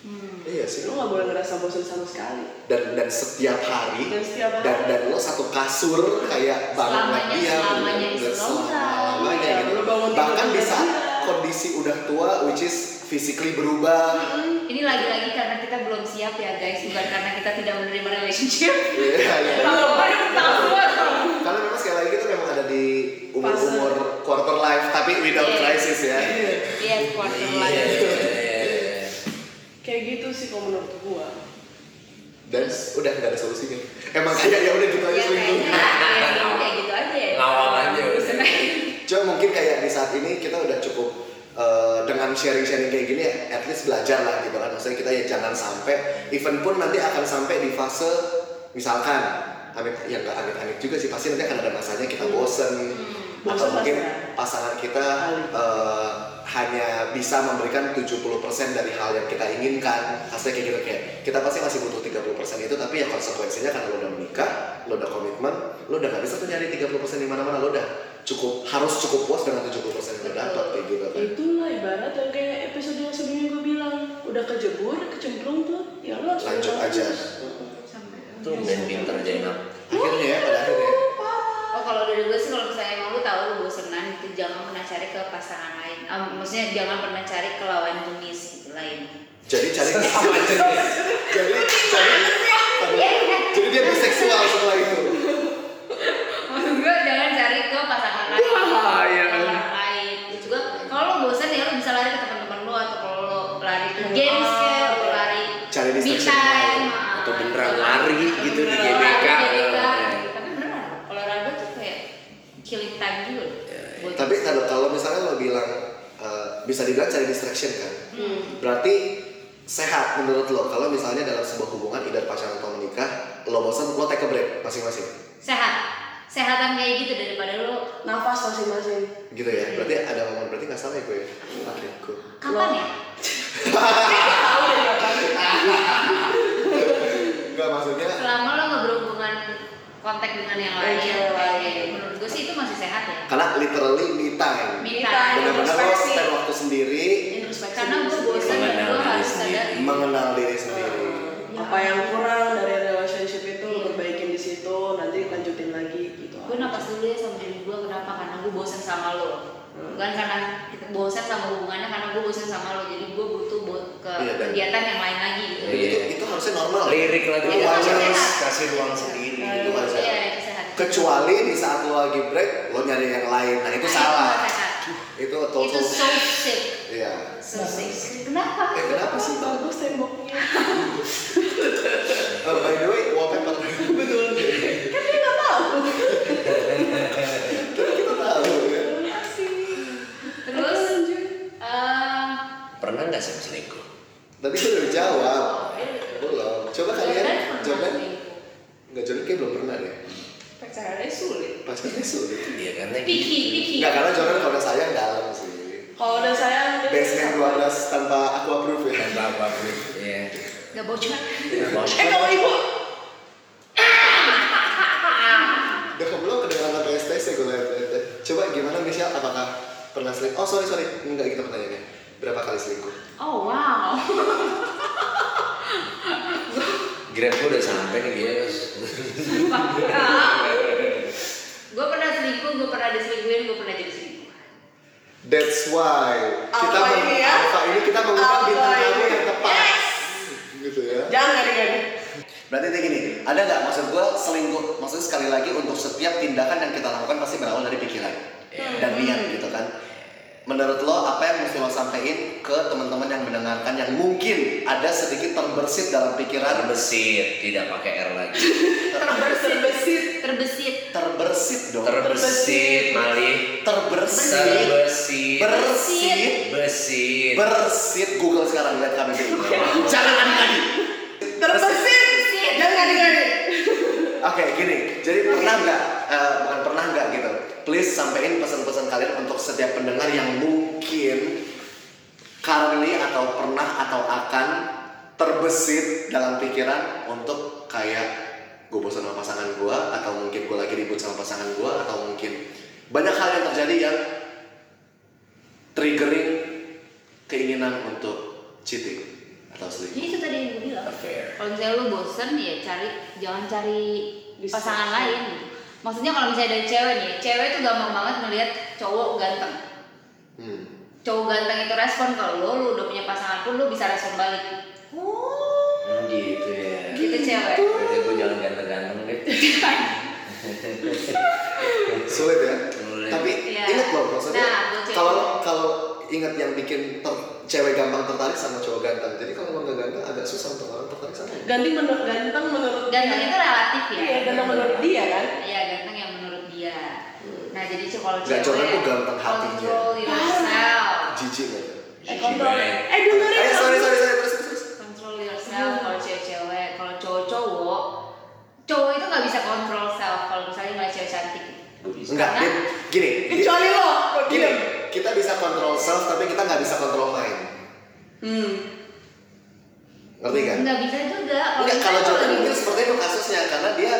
[SPEAKER 4] Hmm.
[SPEAKER 1] Iya sih.
[SPEAKER 2] lu nggak boleh ngerasa bosan sama sekali
[SPEAKER 1] Dan dan setiap hari
[SPEAKER 2] Dan setiap hari.
[SPEAKER 1] dan, dan lo satu kasur kayak bangun
[SPEAKER 4] Selamanya-
[SPEAKER 1] lagi ya
[SPEAKER 4] selamanya di
[SPEAKER 1] dan
[SPEAKER 4] Sulawesi.
[SPEAKER 1] selamanya
[SPEAKER 2] Iya,
[SPEAKER 1] gitu.
[SPEAKER 2] lo bangun tidur
[SPEAKER 1] Bahkan di
[SPEAKER 2] juga
[SPEAKER 1] saat
[SPEAKER 2] iya.
[SPEAKER 1] kondisi udah tua which is physically berubah.
[SPEAKER 4] Ini lagi-lagi karena kita belum siap ya guys, bukan karena kita tidak menerima relationship.
[SPEAKER 1] Iya, iya.
[SPEAKER 4] Kalau baru tahu.
[SPEAKER 1] Karena memang sekali lagi itu memang ada di umur-umur
[SPEAKER 2] Fase.
[SPEAKER 1] quarter life tapi without
[SPEAKER 4] Iya.
[SPEAKER 1] crisis ya.
[SPEAKER 4] Iya, quarter
[SPEAKER 3] Iya,
[SPEAKER 4] life.
[SPEAKER 3] iya, iya, iya.
[SPEAKER 2] kayak gitu sih kalau menurut gua
[SPEAKER 1] Dan udah nggak ada solusinya. Emang kayak ya udah gitu aja
[SPEAKER 2] Iya,
[SPEAKER 4] Ya
[SPEAKER 1] selingkuh.
[SPEAKER 4] kayaknya ya, kayak gitu aja ya.
[SPEAKER 3] Iya,
[SPEAKER 4] gitu.
[SPEAKER 3] Ngawal aja udah.
[SPEAKER 1] Cuma mungkin kayak di saat ini kita udah cukup eh, dengan sharing-sharing kayak gini ya, at least belajar lah gitu kan. Maksudnya kita ya jangan sampai, even pun nanti akan sampai di fase misalkan, amit, ya nggak amit-amit juga sih, pasti nanti akan ada masanya kita bosen. Atau
[SPEAKER 2] Bosen
[SPEAKER 1] mungkin
[SPEAKER 2] pasti.
[SPEAKER 1] pasangan kita
[SPEAKER 2] Alih.
[SPEAKER 1] eh, hanya bisa memberikan 70% dari hal yang kita inginkan. Maksudnya kayak gitu kayak, kita pasti masih butuh 30% itu, tapi ya konsekuensinya karena lo udah menikah, lo udah komitmen, lo udah gak bisa tuh nyari 30% di mana-mana, lo udah cukup harus cukup puas dengan 70% yang lo dapat kayak gitu kan.
[SPEAKER 2] itulah ibarat yang kayak episode yang sebelumnya gua bilang udah kejebur kecemplung tuh ya lu harus
[SPEAKER 1] Lanjut
[SPEAKER 2] terus.
[SPEAKER 1] aja.
[SPEAKER 2] Heeh.
[SPEAKER 3] Tuh main pinter Zainal.
[SPEAKER 1] Akhirnya ya pada akhirnya.
[SPEAKER 4] Oh kalau dari gue sih kalau misalnya emang lu tahu lu bosenan itu jangan pernah cari ke pasangan lain. Ah, maksudnya jangan pernah cari ke lawan jenis gitu, lain.
[SPEAKER 1] Jadi cari sama aja. Jadi cari
[SPEAKER 4] Iya, iya.
[SPEAKER 1] jadi dia biseksual setelah itu.
[SPEAKER 4] Maksud gue jangan cari ke pasangan lain.
[SPEAKER 3] Wah, iya.
[SPEAKER 4] Orang lain. Terus juga kalau lu bosan ya lu bisa lari ke teman-teman lu atau kalau lu lari ke
[SPEAKER 3] Iya.
[SPEAKER 4] games ya, lu lari
[SPEAKER 1] Cari distraction
[SPEAKER 4] me
[SPEAKER 1] yang
[SPEAKER 4] time,
[SPEAKER 1] lain.
[SPEAKER 4] ah.
[SPEAKER 3] Atau beneran lari gitu di
[SPEAKER 4] Beneran lari
[SPEAKER 3] GBK.
[SPEAKER 4] di GBK.
[SPEAKER 3] Iya.
[SPEAKER 4] Tapi beneran olahraga tuh kayak killing time juga.
[SPEAKER 3] Iya,
[SPEAKER 4] loh. Buat-
[SPEAKER 1] Tapi kalau kalau misalnya lo bilang eh, bisa dibilang cari distraction kan.
[SPEAKER 4] Hmm.
[SPEAKER 1] Berarti sehat menurut lo kalau misalnya dalam sebuah hubungan either pacaran atau menikah lo bosan lo take a break masing-masing
[SPEAKER 4] sehat sehatan kayak gitu daripada lu
[SPEAKER 2] nafas masing-masing
[SPEAKER 1] gitu ya
[SPEAKER 4] Iya.
[SPEAKER 1] berarti ada momen berarti nggak salah ya gue ya oke cool
[SPEAKER 4] kapan ya
[SPEAKER 2] tahu ya kapan
[SPEAKER 1] nggak maksudnya
[SPEAKER 4] selama lo nggak berhubungan kontak dengan yang lain
[SPEAKER 2] Iya.
[SPEAKER 4] kayak menurut gue sih itu masih sehat ya
[SPEAKER 1] karena literally me time
[SPEAKER 4] me
[SPEAKER 2] Iya.
[SPEAKER 4] time
[SPEAKER 1] benar-benar lo
[SPEAKER 2] introspeksi.
[SPEAKER 1] spend waktu sendiri
[SPEAKER 2] introspeksi
[SPEAKER 4] karena gue
[SPEAKER 2] diri
[SPEAKER 4] bosan
[SPEAKER 2] sendiri.
[SPEAKER 4] dan gue
[SPEAKER 3] Mengenal
[SPEAKER 4] harus
[SPEAKER 3] diri
[SPEAKER 4] sadar
[SPEAKER 3] sendiri.
[SPEAKER 1] mengenal diri sendiri
[SPEAKER 2] Iya. apa yang kurang dari relationship itu lu perbaikin di situ nanti lanjutin lagi gitu
[SPEAKER 4] gue napas dulu ya sama diri gue kenapa karena gue bosan sama lo
[SPEAKER 1] Hmm.
[SPEAKER 4] bukan karena kita bosan sama hubungannya karena gue bosan sama lo jadi gue butuh buat ke
[SPEAKER 1] Iya, dan- Iya,
[SPEAKER 4] kegiatan yang lain lagi gitu
[SPEAKER 1] Dan itu, itu harusnya normal
[SPEAKER 3] Lirik lagu
[SPEAKER 1] Itu
[SPEAKER 4] Iya,
[SPEAKER 1] wajar.
[SPEAKER 4] tapi sehat.
[SPEAKER 3] kasih ruang sendiri. gitu,
[SPEAKER 1] itu wajar.
[SPEAKER 4] iya itu sehat
[SPEAKER 1] kecuali di saat lo lagi break lo nyari yang lain nah itu
[SPEAKER 4] Nah,
[SPEAKER 1] salah
[SPEAKER 4] nggak sehat.
[SPEAKER 1] itu
[SPEAKER 4] itu
[SPEAKER 1] total
[SPEAKER 4] so sick
[SPEAKER 1] iya
[SPEAKER 4] so sick kenapa
[SPEAKER 1] eh kenapa sih bang
[SPEAKER 2] bagus temboknya
[SPEAKER 1] Eh, by the way wallpaper
[SPEAKER 2] betul kan dia nggak tahu
[SPEAKER 1] Kan kita tahu ya.
[SPEAKER 2] Iya
[SPEAKER 4] terus eh,
[SPEAKER 3] Pernah nggak sih selingkuh?
[SPEAKER 1] Tadi gue udah jawab.
[SPEAKER 2] Oh, eh.
[SPEAKER 1] Belum. Coba kalian
[SPEAKER 4] Jordan pernah gitu.
[SPEAKER 1] Jordan.
[SPEAKER 4] selingkuh.
[SPEAKER 1] Enggak Jordan kayak belum pernah deh.
[SPEAKER 4] pacarannya sulit
[SPEAKER 1] Pacarnya sulit.
[SPEAKER 3] Iya karena
[SPEAKER 4] Piki, piki.
[SPEAKER 1] Enggak gitu. karena Jordan kalau udah sayang dalam sih.
[SPEAKER 2] kalau udah sayang dia
[SPEAKER 1] Basement 12 tanpa aku approve ya.
[SPEAKER 3] Bapak gue. Iya.
[SPEAKER 4] nggak bocor
[SPEAKER 3] Bos.
[SPEAKER 2] eh kalau ibu
[SPEAKER 1] Udah kamu belum kedengeran apa STC gue lihat. ya. Coba gimana Michelle apakah pernah selingkuh? Oh sorry sorry enggak gitu pertanyaannya. Berapa kali selingkuh?
[SPEAKER 4] oh wow
[SPEAKER 3] Grab gue udah sampai nih guys.
[SPEAKER 4] gue pernah selingkuh gue pernah diselingkuhin gue pernah jadi selingkuh
[SPEAKER 1] That's why kita
[SPEAKER 2] Apa
[SPEAKER 1] meng-
[SPEAKER 2] ini ya?
[SPEAKER 1] apa ini kita mengundang
[SPEAKER 2] Apa
[SPEAKER 1] bintang
[SPEAKER 2] ini?
[SPEAKER 1] tamu yang tepat. Gitu ya.
[SPEAKER 2] jangan gak gini
[SPEAKER 1] Berarti kayak gini, ada nggak maksud gue selingkuh? Maksudnya sekali lagi untuk setiap tindakan yang kita lakukan pasti berawal dari pikiran dan niat gitu kan. Menurut lo apa yang mesti lo sampaikan ke teman-teman yang mendengarkan yang mungkin ada sedikit terbersit dalam pikiran
[SPEAKER 3] Terbesit, tidak pakai R lagi.
[SPEAKER 2] terbesit terbesit
[SPEAKER 4] terbesit
[SPEAKER 1] terbersit dong
[SPEAKER 3] Terbesit, Mali.
[SPEAKER 1] terbersit
[SPEAKER 3] Terbesit.
[SPEAKER 1] bersit
[SPEAKER 3] Besit.
[SPEAKER 1] bersit Google sekarang lihat KBBI jangan adik-adik
[SPEAKER 2] terbesit jangan gak gini
[SPEAKER 1] Oke, gini. Jadi pernah nggak? eh, bukan pernah nggak gitu. Please sampaikan pesan-pesan kalian untuk setiap pendengar yang mungkin currently atau pernah atau akan terbesit dalam pikiran untuk kayak gue bosan sama pasangan gue atau mungkin gue lagi ribut sama pasangan gue atau mungkin banyak hal yang terjadi yang triggering keinginan untuk cheating atau
[SPEAKER 4] Jadi
[SPEAKER 1] selingkuh
[SPEAKER 4] itu tadi yang gue bilang.
[SPEAKER 3] affair
[SPEAKER 4] Kalau misalnya lu bosen ya cari jangan cari
[SPEAKER 2] Distraction.
[SPEAKER 4] pasangan lain. gitu. Maksudnya kalau misalnya dari cewek nih, cewek tuh gampang banget melihat cowok ganteng.
[SPEAKER 1] hmm.
[SPEAKER 4] Cowok ganteng itu respon kalau lu, lu udah punya pasangan pun lu bisa respon balik. Oh,
[SPEAKER 3] Hmm, gitu ya
[SPEAKER 4] gitu
[SPEAKER 2] Hmm.
[SPEAKER 4] cewek.
[SPEAKER 3] berarti gue jangan ganteng-ganteng deh
[SPEAKER 1] sulit ya
[SPEAKER 3] Sulit.
[SPEAKER 1] tapi
[SPEAKER 4] Iya.
[SPEAKER 1] ingat loh maksudnya
[SPEAKER 4] Nah, gua cek.
[SPEAKER 1] kalau kalau ingat yang bikin ter- cewek gampang tertarik sama cowok ganteng jadi kalau emang nggak ganteng agak susah untuk orang tertarik sama
[SPEAKER 2] Ganti menurut ganteng menurut
[SPEAKER 4] Ganteng itu relatif ya.
[SPEAKER 2] Iya, ganteng menurut dia kan.
[SPEAKER 4] Iya, ganteng yang menurut dia.
[SPEAKER 2] Hmm.
[SPEAKER 4] Nah, jadi cewek kalau
[SPEAKER 1] Nggak,
[SPEAKER 4] cewek
[SPEAKER 1] cowok tuh ganteng hatinya.
[SPEAKER 4] Control
[SPEAKER 2] Ah.
[SPEAKER 4] yourself.
[SPEAKER 1] jijik aja
[SPEAKER 2] Eh kontrol.
[SPEAKER 3] Gimana?
[SPEAKER 2] Eh dengerin.
[SPEAKER 1] eh sorry
[SPEAKER 2] dong.
[SPEAKER 1] sorry sorry terus terus terus
[SPEAKER 4] Control yourself kalau cewek-cewek, kalau cowok-cowok cowok itu nggak bisa kontrol self kalau misalnya nggak cewek cantik.
[SPEAKER 3] gue bisa
[SPEAKER 1] enggak dia, gini dia-
[SPEAKER 2] Kecuali lo. lo
[SPEAKER 1] gini
[SPEAKER 2] diem.
[SPEAKER 1] kita bisa kontrol self tapi kita nggak bisa kontrol lain
[SPEAKER 2] Hmm.
[SPEAKER 1] ngerti kan
[SPEAKER 4] Nggak bisa juga.
[SPEAKER 1] Enggak,
[SPEAKER 4] misalnya
[SPEAKER 1] kalau Jordan
[SPEAKER 4] lagi-
[SPEAKER 1] mungkin seperti itu kasusnya karena dia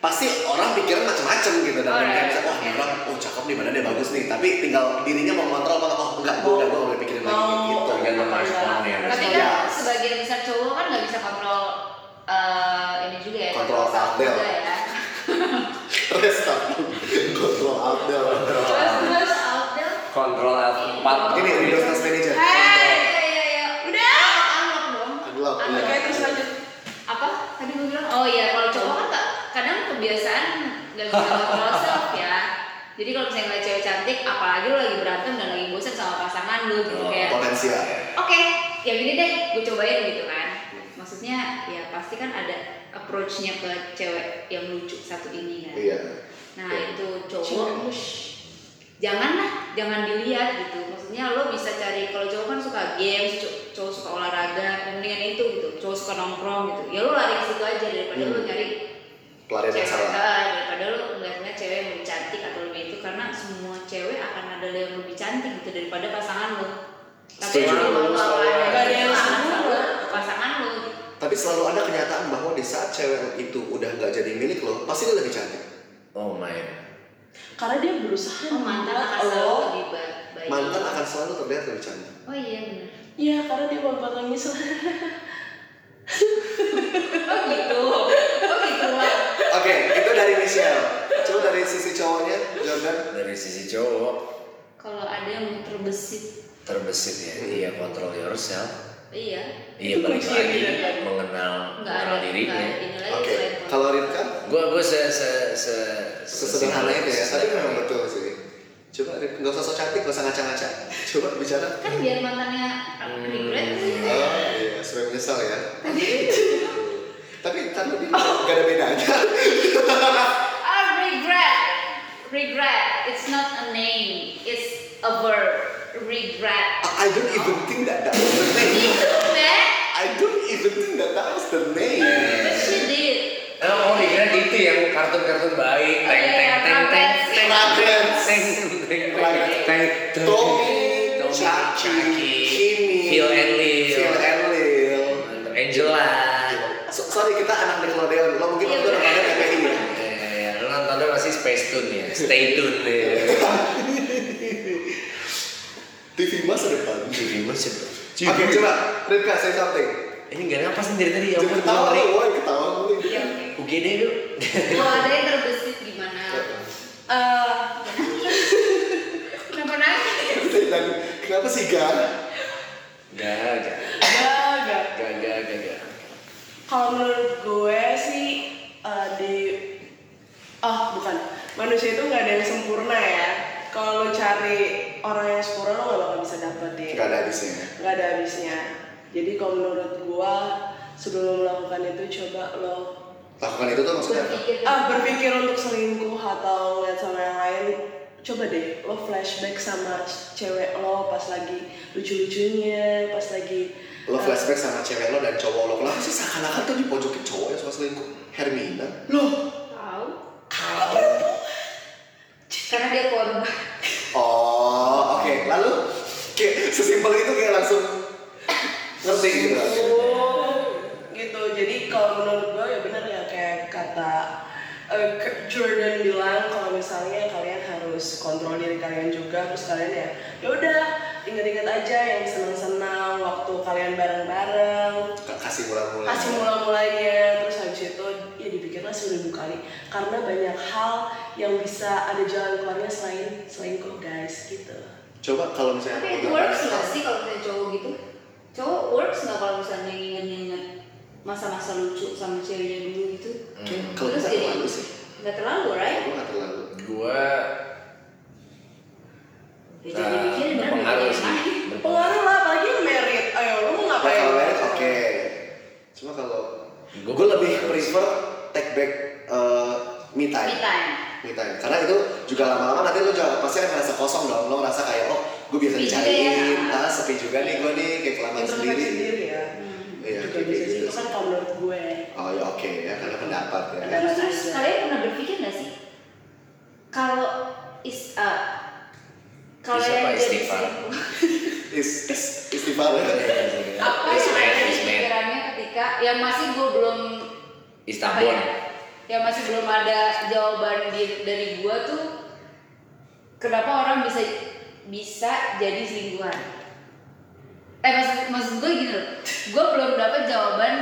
[SPEAKER 1] pasti orang pikiran macam-macam gitu dan
[SPEAKER 4] Alright.
[SPEAKER 1] mungkin bisa wah ini orang oh cakep nih badannya bagus nih tapi tinggal dirinya mau ngontrol apa oh enggak gue udah gue nggak boleh pikirin lagi
[SPEAKER 2] Oh.
[SPEAKER 1] gitu kan
[SPEAKER 3] tergantung responnya
[SPEAKER 4] Tapi
[SPEAKER 1] Iya.
[SPEAKER 4] kan sebagian besar cowok kan nggak bisa kontrol eh, ini juga ya.
[SPEAKER 1] Kontrol
[SPEAKER 4] self
[SPEAKER 1] taktil.
[SPEAKER 4] juga ya.
[SPEAKER 1] terus tapi kontrol out there
[SPEAKER 4] Terus terus outdoor.
[SPEAKER 3] kontrol empat
[SPEAKER 1] gini reverse manager
[SPEAKER 4] Hei, iya iya iya. Udah. Unlock dong.
[SPEAKER 1] Unlock, iya.
[SPEAKER 2] Oke terus lanjut.
[SPEAKER 4] apa tadi gue bilang oh iya kalau cowok kan nggak- kadang kebiasaan nggak bisa kontrol self ya jadi kalau misalnya ngeliat cewek cantik apalagi lu lagi berantem dan lagi bosan sama pasangan lu gitu
[SPEAKER 3] Oh,
[SPEAKER 4] kayak oke
[SPEAKER 1] potensial
[SPEAKER 4] ya gini deh gue cobain gitu kan maksudnya ya pasti kan ada approach-nya ke cewek yang lucu satu ini kan
[SPEAKER 1] iya
[SPEAKER 4] nah itu cowok janganlah jangan dilihat gitu maksudnya lo bisa cari kalau cowok kan suka games cow- cowok suka olahraga dan mendingan itu gitu cowok suka nongkrong gitu ya lo lari ke situ aja daripada
[SPEAKER 1] Hmm.
[SPEAKER 4] lo nyari
[SPEAKER 1] pelarian yang
[SPEAKER 4] cewek
[SPEAKER 1] salah
[SPEAKER 4] eh, daripada lo ngeliatnya cewek yang lebih cantik atau lebih itu karena semua cewek akan ada yang lebih cantik gitu daripada pasangan lo tapi
[SPEAKER 1] Setuju.
[SPEAKER 4] lo mau apa
[SPEAKER 2] Gak ada yang sempurna.
[SPEAKER 4] pasangan lo
[SPEAKER 1] tapi selalu ada kenyataan bahwa di saat cewek itu udah nggak jadi milik lo pasti dia lebih cantik
[SPEAKER 3] oh my
[SPEAKER 2] Karena dia berusaha
[SPEAKER 4] oh, mantan
[SPEAKER 2] membuat
[SPEAKER 4] akan
[SPEAKER 2] lo.
[SPEAKER 4] selalu lebih ba- baik
[SPEAKER 1] mantan akan selalu terlihat lebih cantik
[SPEAKER 4] oh iya benar
[SPEAKER 2] Iya karena dia buat nangis lah.
[SPEAKER 4] oh gitu oh gitu Wak.
[SPEAKER 1] Oke, itu dari Michelle. Coba dari sisi cowoknya, Jordan.
[SPEAKER 3] dari sisi cowok
[SPEAKER 4] kalau ada yang terbesit
[SPEAKER 3] terbesit ya iya kontrol yourself
[SPEAKER 4] iya
[SPEAKER 3] Iya
[SPEAKER 2] Itu
[SPEAKER 3] balik
[SPEAKER 2] kuncinya
[SPEAKER 3] lagi
[SPEAKER 2] gitu kan?
[SPEAKER 3] mengenal mengenal
[SPEAKER 4] nggak ada nggak ada
[SPEAKER 3] dirinya.
[SPEAKER 4] ini lagi
[SPEAKER 1] Oke,
[SPEAKER 4] selain
[SPEAKER 1] kalau Rifka,
[SPEAKER 3] Gue gue se se se
[SPEAKER 1] sesederhana itu ya. Tapi
[SPEAKER 3] sesederhana.
[SPEAKER 1] memang betul sih. Coba Rif, nggak usah sok cantik, nggak usah ngaca-ngaca. Coba bicara.
[SPEAKER 4] kan biar mantannya regret sih
[SPEAKER 1] Oh iya, supaya menyesal ya. Tapi tapi dia nggak ada bedanya.
[SPEAKER 4] ah regret regret it's not a name it's a verb regret
[SPEAKER 1] I don't even think that that was the name.
[SPEAKER 4] regret
[SPEAKER 1] I don't even think that that was the name.
[SPEAKER 4] but she did
[SPEAKER 3] Eh, oh dikira itu yang kartun-kartun baik.
[SPEAKER 4] Iya,
[SPEAKER 3] Teng teng teng
[SPEAKER 4] iya,
[SPEAKER 3] teng
[SPEAKER 4] progress.
[SPEAKER 3] teng
[SPEAKER 1] Progress.
[SPEAKER 3] teng teng
[SPEAKER 1] Progress.
[SPEAKER 3] teng teng teng.
[SPEAKER 1] Tommy,
[SPEAKER 3] Tommy,
[SPEAKER 1] Chucky,
[SPEAKER 3] Chucky,
[SPEAKER 1] Kimmy,
[SPEAKER 3] Phil and Lil.
[SPEAKER 1] Phil and Lil.
[SPEAKER 3] Angela.
[SPEAKER 1] So- sorry kita anak Nickelodeon, lo mungkin
[SPEAKER 4] Iya,
[SPEAKER 1] waktu itu
[SPEAKER 4] bener.
[SPEAKER 1] namanya KPI ya?
[SPEAKER 3] Eh, Lu nontonnya masih Space Tune ya, Stay Tune ya.
[SPEAKER 1] TV masa depan.
[SPEAKER 3] Jadi masih.
[SPEAKER 1] Oke coba, Ripka say something.
[SPEAKER 3] Ini gak apa sendiri tadi ya?
[SPEAKER 1] Jangan
[SPEAKER 3] ampun,
[SPEAKER 1] ketawa lu,
[SPEAKER 3] gua ngeri.
[SPEAKER 1] woy, ketawa lu.
[SPEAKER 4] ya
[SPEAKER 3] UGD lu.
[SPEAKER 4] kalau ada yang terbesit gimana
[SPEAKER 2] Eh,
[SPEAKER 4] kenapa nangis
[SPEAKER 1] Dan kenapa sih Gan?
[SPEAKER 3] Gak, gak,
[SPEAKER 2] gak gak.
[SPEAKER 3] gak, gak, gak, gak.
[SPEAKER 2] Kalau menurut gue sih eh, di oh bukan manusia itu nggak ada yang sempurna ya. Kalau lo cari orang yang sempurna lo nggak bakal bisa dapetin.
[SPEAKER 1] Gak ada habisnya.
[SPEAKER 2] Nggak ada habisnya. Jadi kalau menurut gue sebelum melakukan itu coba lo
[SPEAKER 1] Lakukan itu tuh maksudnya apa?
[SPEAKER 4] berpikir
[SPEAKER 2] ah berpikir untuk selingkuh atau ngeliat sama yang lain coba deh lo flashback sama cewek lo pas lagi lucu-lucunya pas lagi
[SPEAKER 1] Lo
[SPEAKER 2] eh,
[SPEAKER 1] flashback sama cewek lo dan cowok lo. Kenapa sih seakan-akan tuh dipojokin cowok yang suka selingkuh? Hermina.
[SPEAKER 2] loh
[SPEAKER 4] tahu
[SPEAKER 1] Oh,
[SPEAKER 4] karena dia korban
[SPEAKER 1] oh oke. Lalu kayak sesimpel itu kayak langsung ngerti gitu.
[SPEAKER 2] Oh, gitu jadi kalau menurut gue ya benar ya kayak kata Jordan bilang kalau misalnya kalian harus kontrol diri kalian juga terus kalian ya ya udah ingat-ingat aja yang senang-senang waktu kalian bareng-bareng
[SPEAKER 1] kasih mula-mula
[SPEAKER 2] kasih mula-mulanya terus habis itu ya dipikirlah seribu kali karena banyak hal yang bisa ada jalan keluarnya selain selingkuh guys gitu
[SPEAKER 1] coba kalau misalnya
[SPEAKER 4] Tapi
[SPEAKER 1] aku
[SPEAKER 4] itu
[SPEAKER 1] udah
[SPEAKER 4] works
[SPEAKER 1] pernah-
[SPEAKER 4] nggak sih kalau misalnya cowok gitu? Cowok works nggak kalau misalnya nginget-nginget masa-masa lucu sama ceweknya dulu gitu?
[SPEAKER 1] Hmm, kalau
[SPEAKER 4] Terus
[SPEAKER 1] bisa
[SPEAKER 4] jadi-
[SPEAKER 1] terlalu sih
[SPEAKER 4] Nggak terlalu, right?
[SPEAKER 1] aku nggak terlalu
[SPEAKER 3] Gua
[SPEAKER 4] Ya, jadi gitu
[SPEAKER 3] eh,
[SPEAKER 4] mikirin bener
[SPEAKER 3] berpengaruh
[SPEAKER 4] mikirin
[SPEAKER 3] sih.
[SPEAKER 4] lagi.
[SPEAKER 3] Berpengaruh.
[SPEAKER 2] pengaruh lah apalagi merit ayo lu mau
[SPEAKER 1] Nah,
[SPEAKER 2] ngapain
[SPEAKER 4] ya?
[SPEAKER 1] kalau merit oke cuma kalau
[SPEAKER 3] Gua-
[SPEAKER 1] gue lebih prefer take back eh, me time
[SPEAKER 4] Me time.
[SPEAKER 1] me time ya. karena itu juga lama-lama nanti lo juga pasti akan ngerasa kosong dong lo ngerasa kayak oh gue biasa
[SPEAKER 4] Sepi juga
[SPEAKER 1] dicariin
[SPEAKER 4] ya.
[SPEAKER 1] ah sepi juga nih gue nih kayak kelamaan
[SPEAKER 2] introspeksi
[SPEAKER 1] sendiri
[SPEAKER 2] Iya, sendiri ya
[SPEAKER 4] Hmm.
[SPEAKER 1] iya
[SPEAKER 2] juga
[SPEAKER 1] kayak
[SPEAKER 2] bisa sih
[SPEAKER 1] gitu
[SPEAKER 2] itu kan kalau menurut gue
[SPEAKER 1] oh ya oke ya karena pendapat ya
[SPEAKER 4] Terus terus kalian pernah berpikir nggak sih kalau is uh, kalau
[SPEAKER 3] Bisa,
[SPEAKER 4] yang
[SPEAKER 3] Pak,
[SPEAKER 4] jadi
[SPEAKER 3] istighfar.
[SPEAKER 4] selingkuh
[SPEAKER 1] Is- is- istighfar ya.
[SPEAKER 4] apa
[SPEAKER 3] Yes,
[SPEAKER 4] yang
[SPEAKER 3] man,
[SPEAKER 4] ada di
[SPEAKER 3] yes, man.
[SPEAKER 4] pikirannya ketika yang masih gue belum apa
[SPEAKER 3] Istanbul.
[SPEAKER 4] ya, yang masih belum ada jawaban di- dari gue tuh kenapa orang bisa bisa jadi selingkuhan eh maksud maksud gue gini loh gue belum dapat jawaban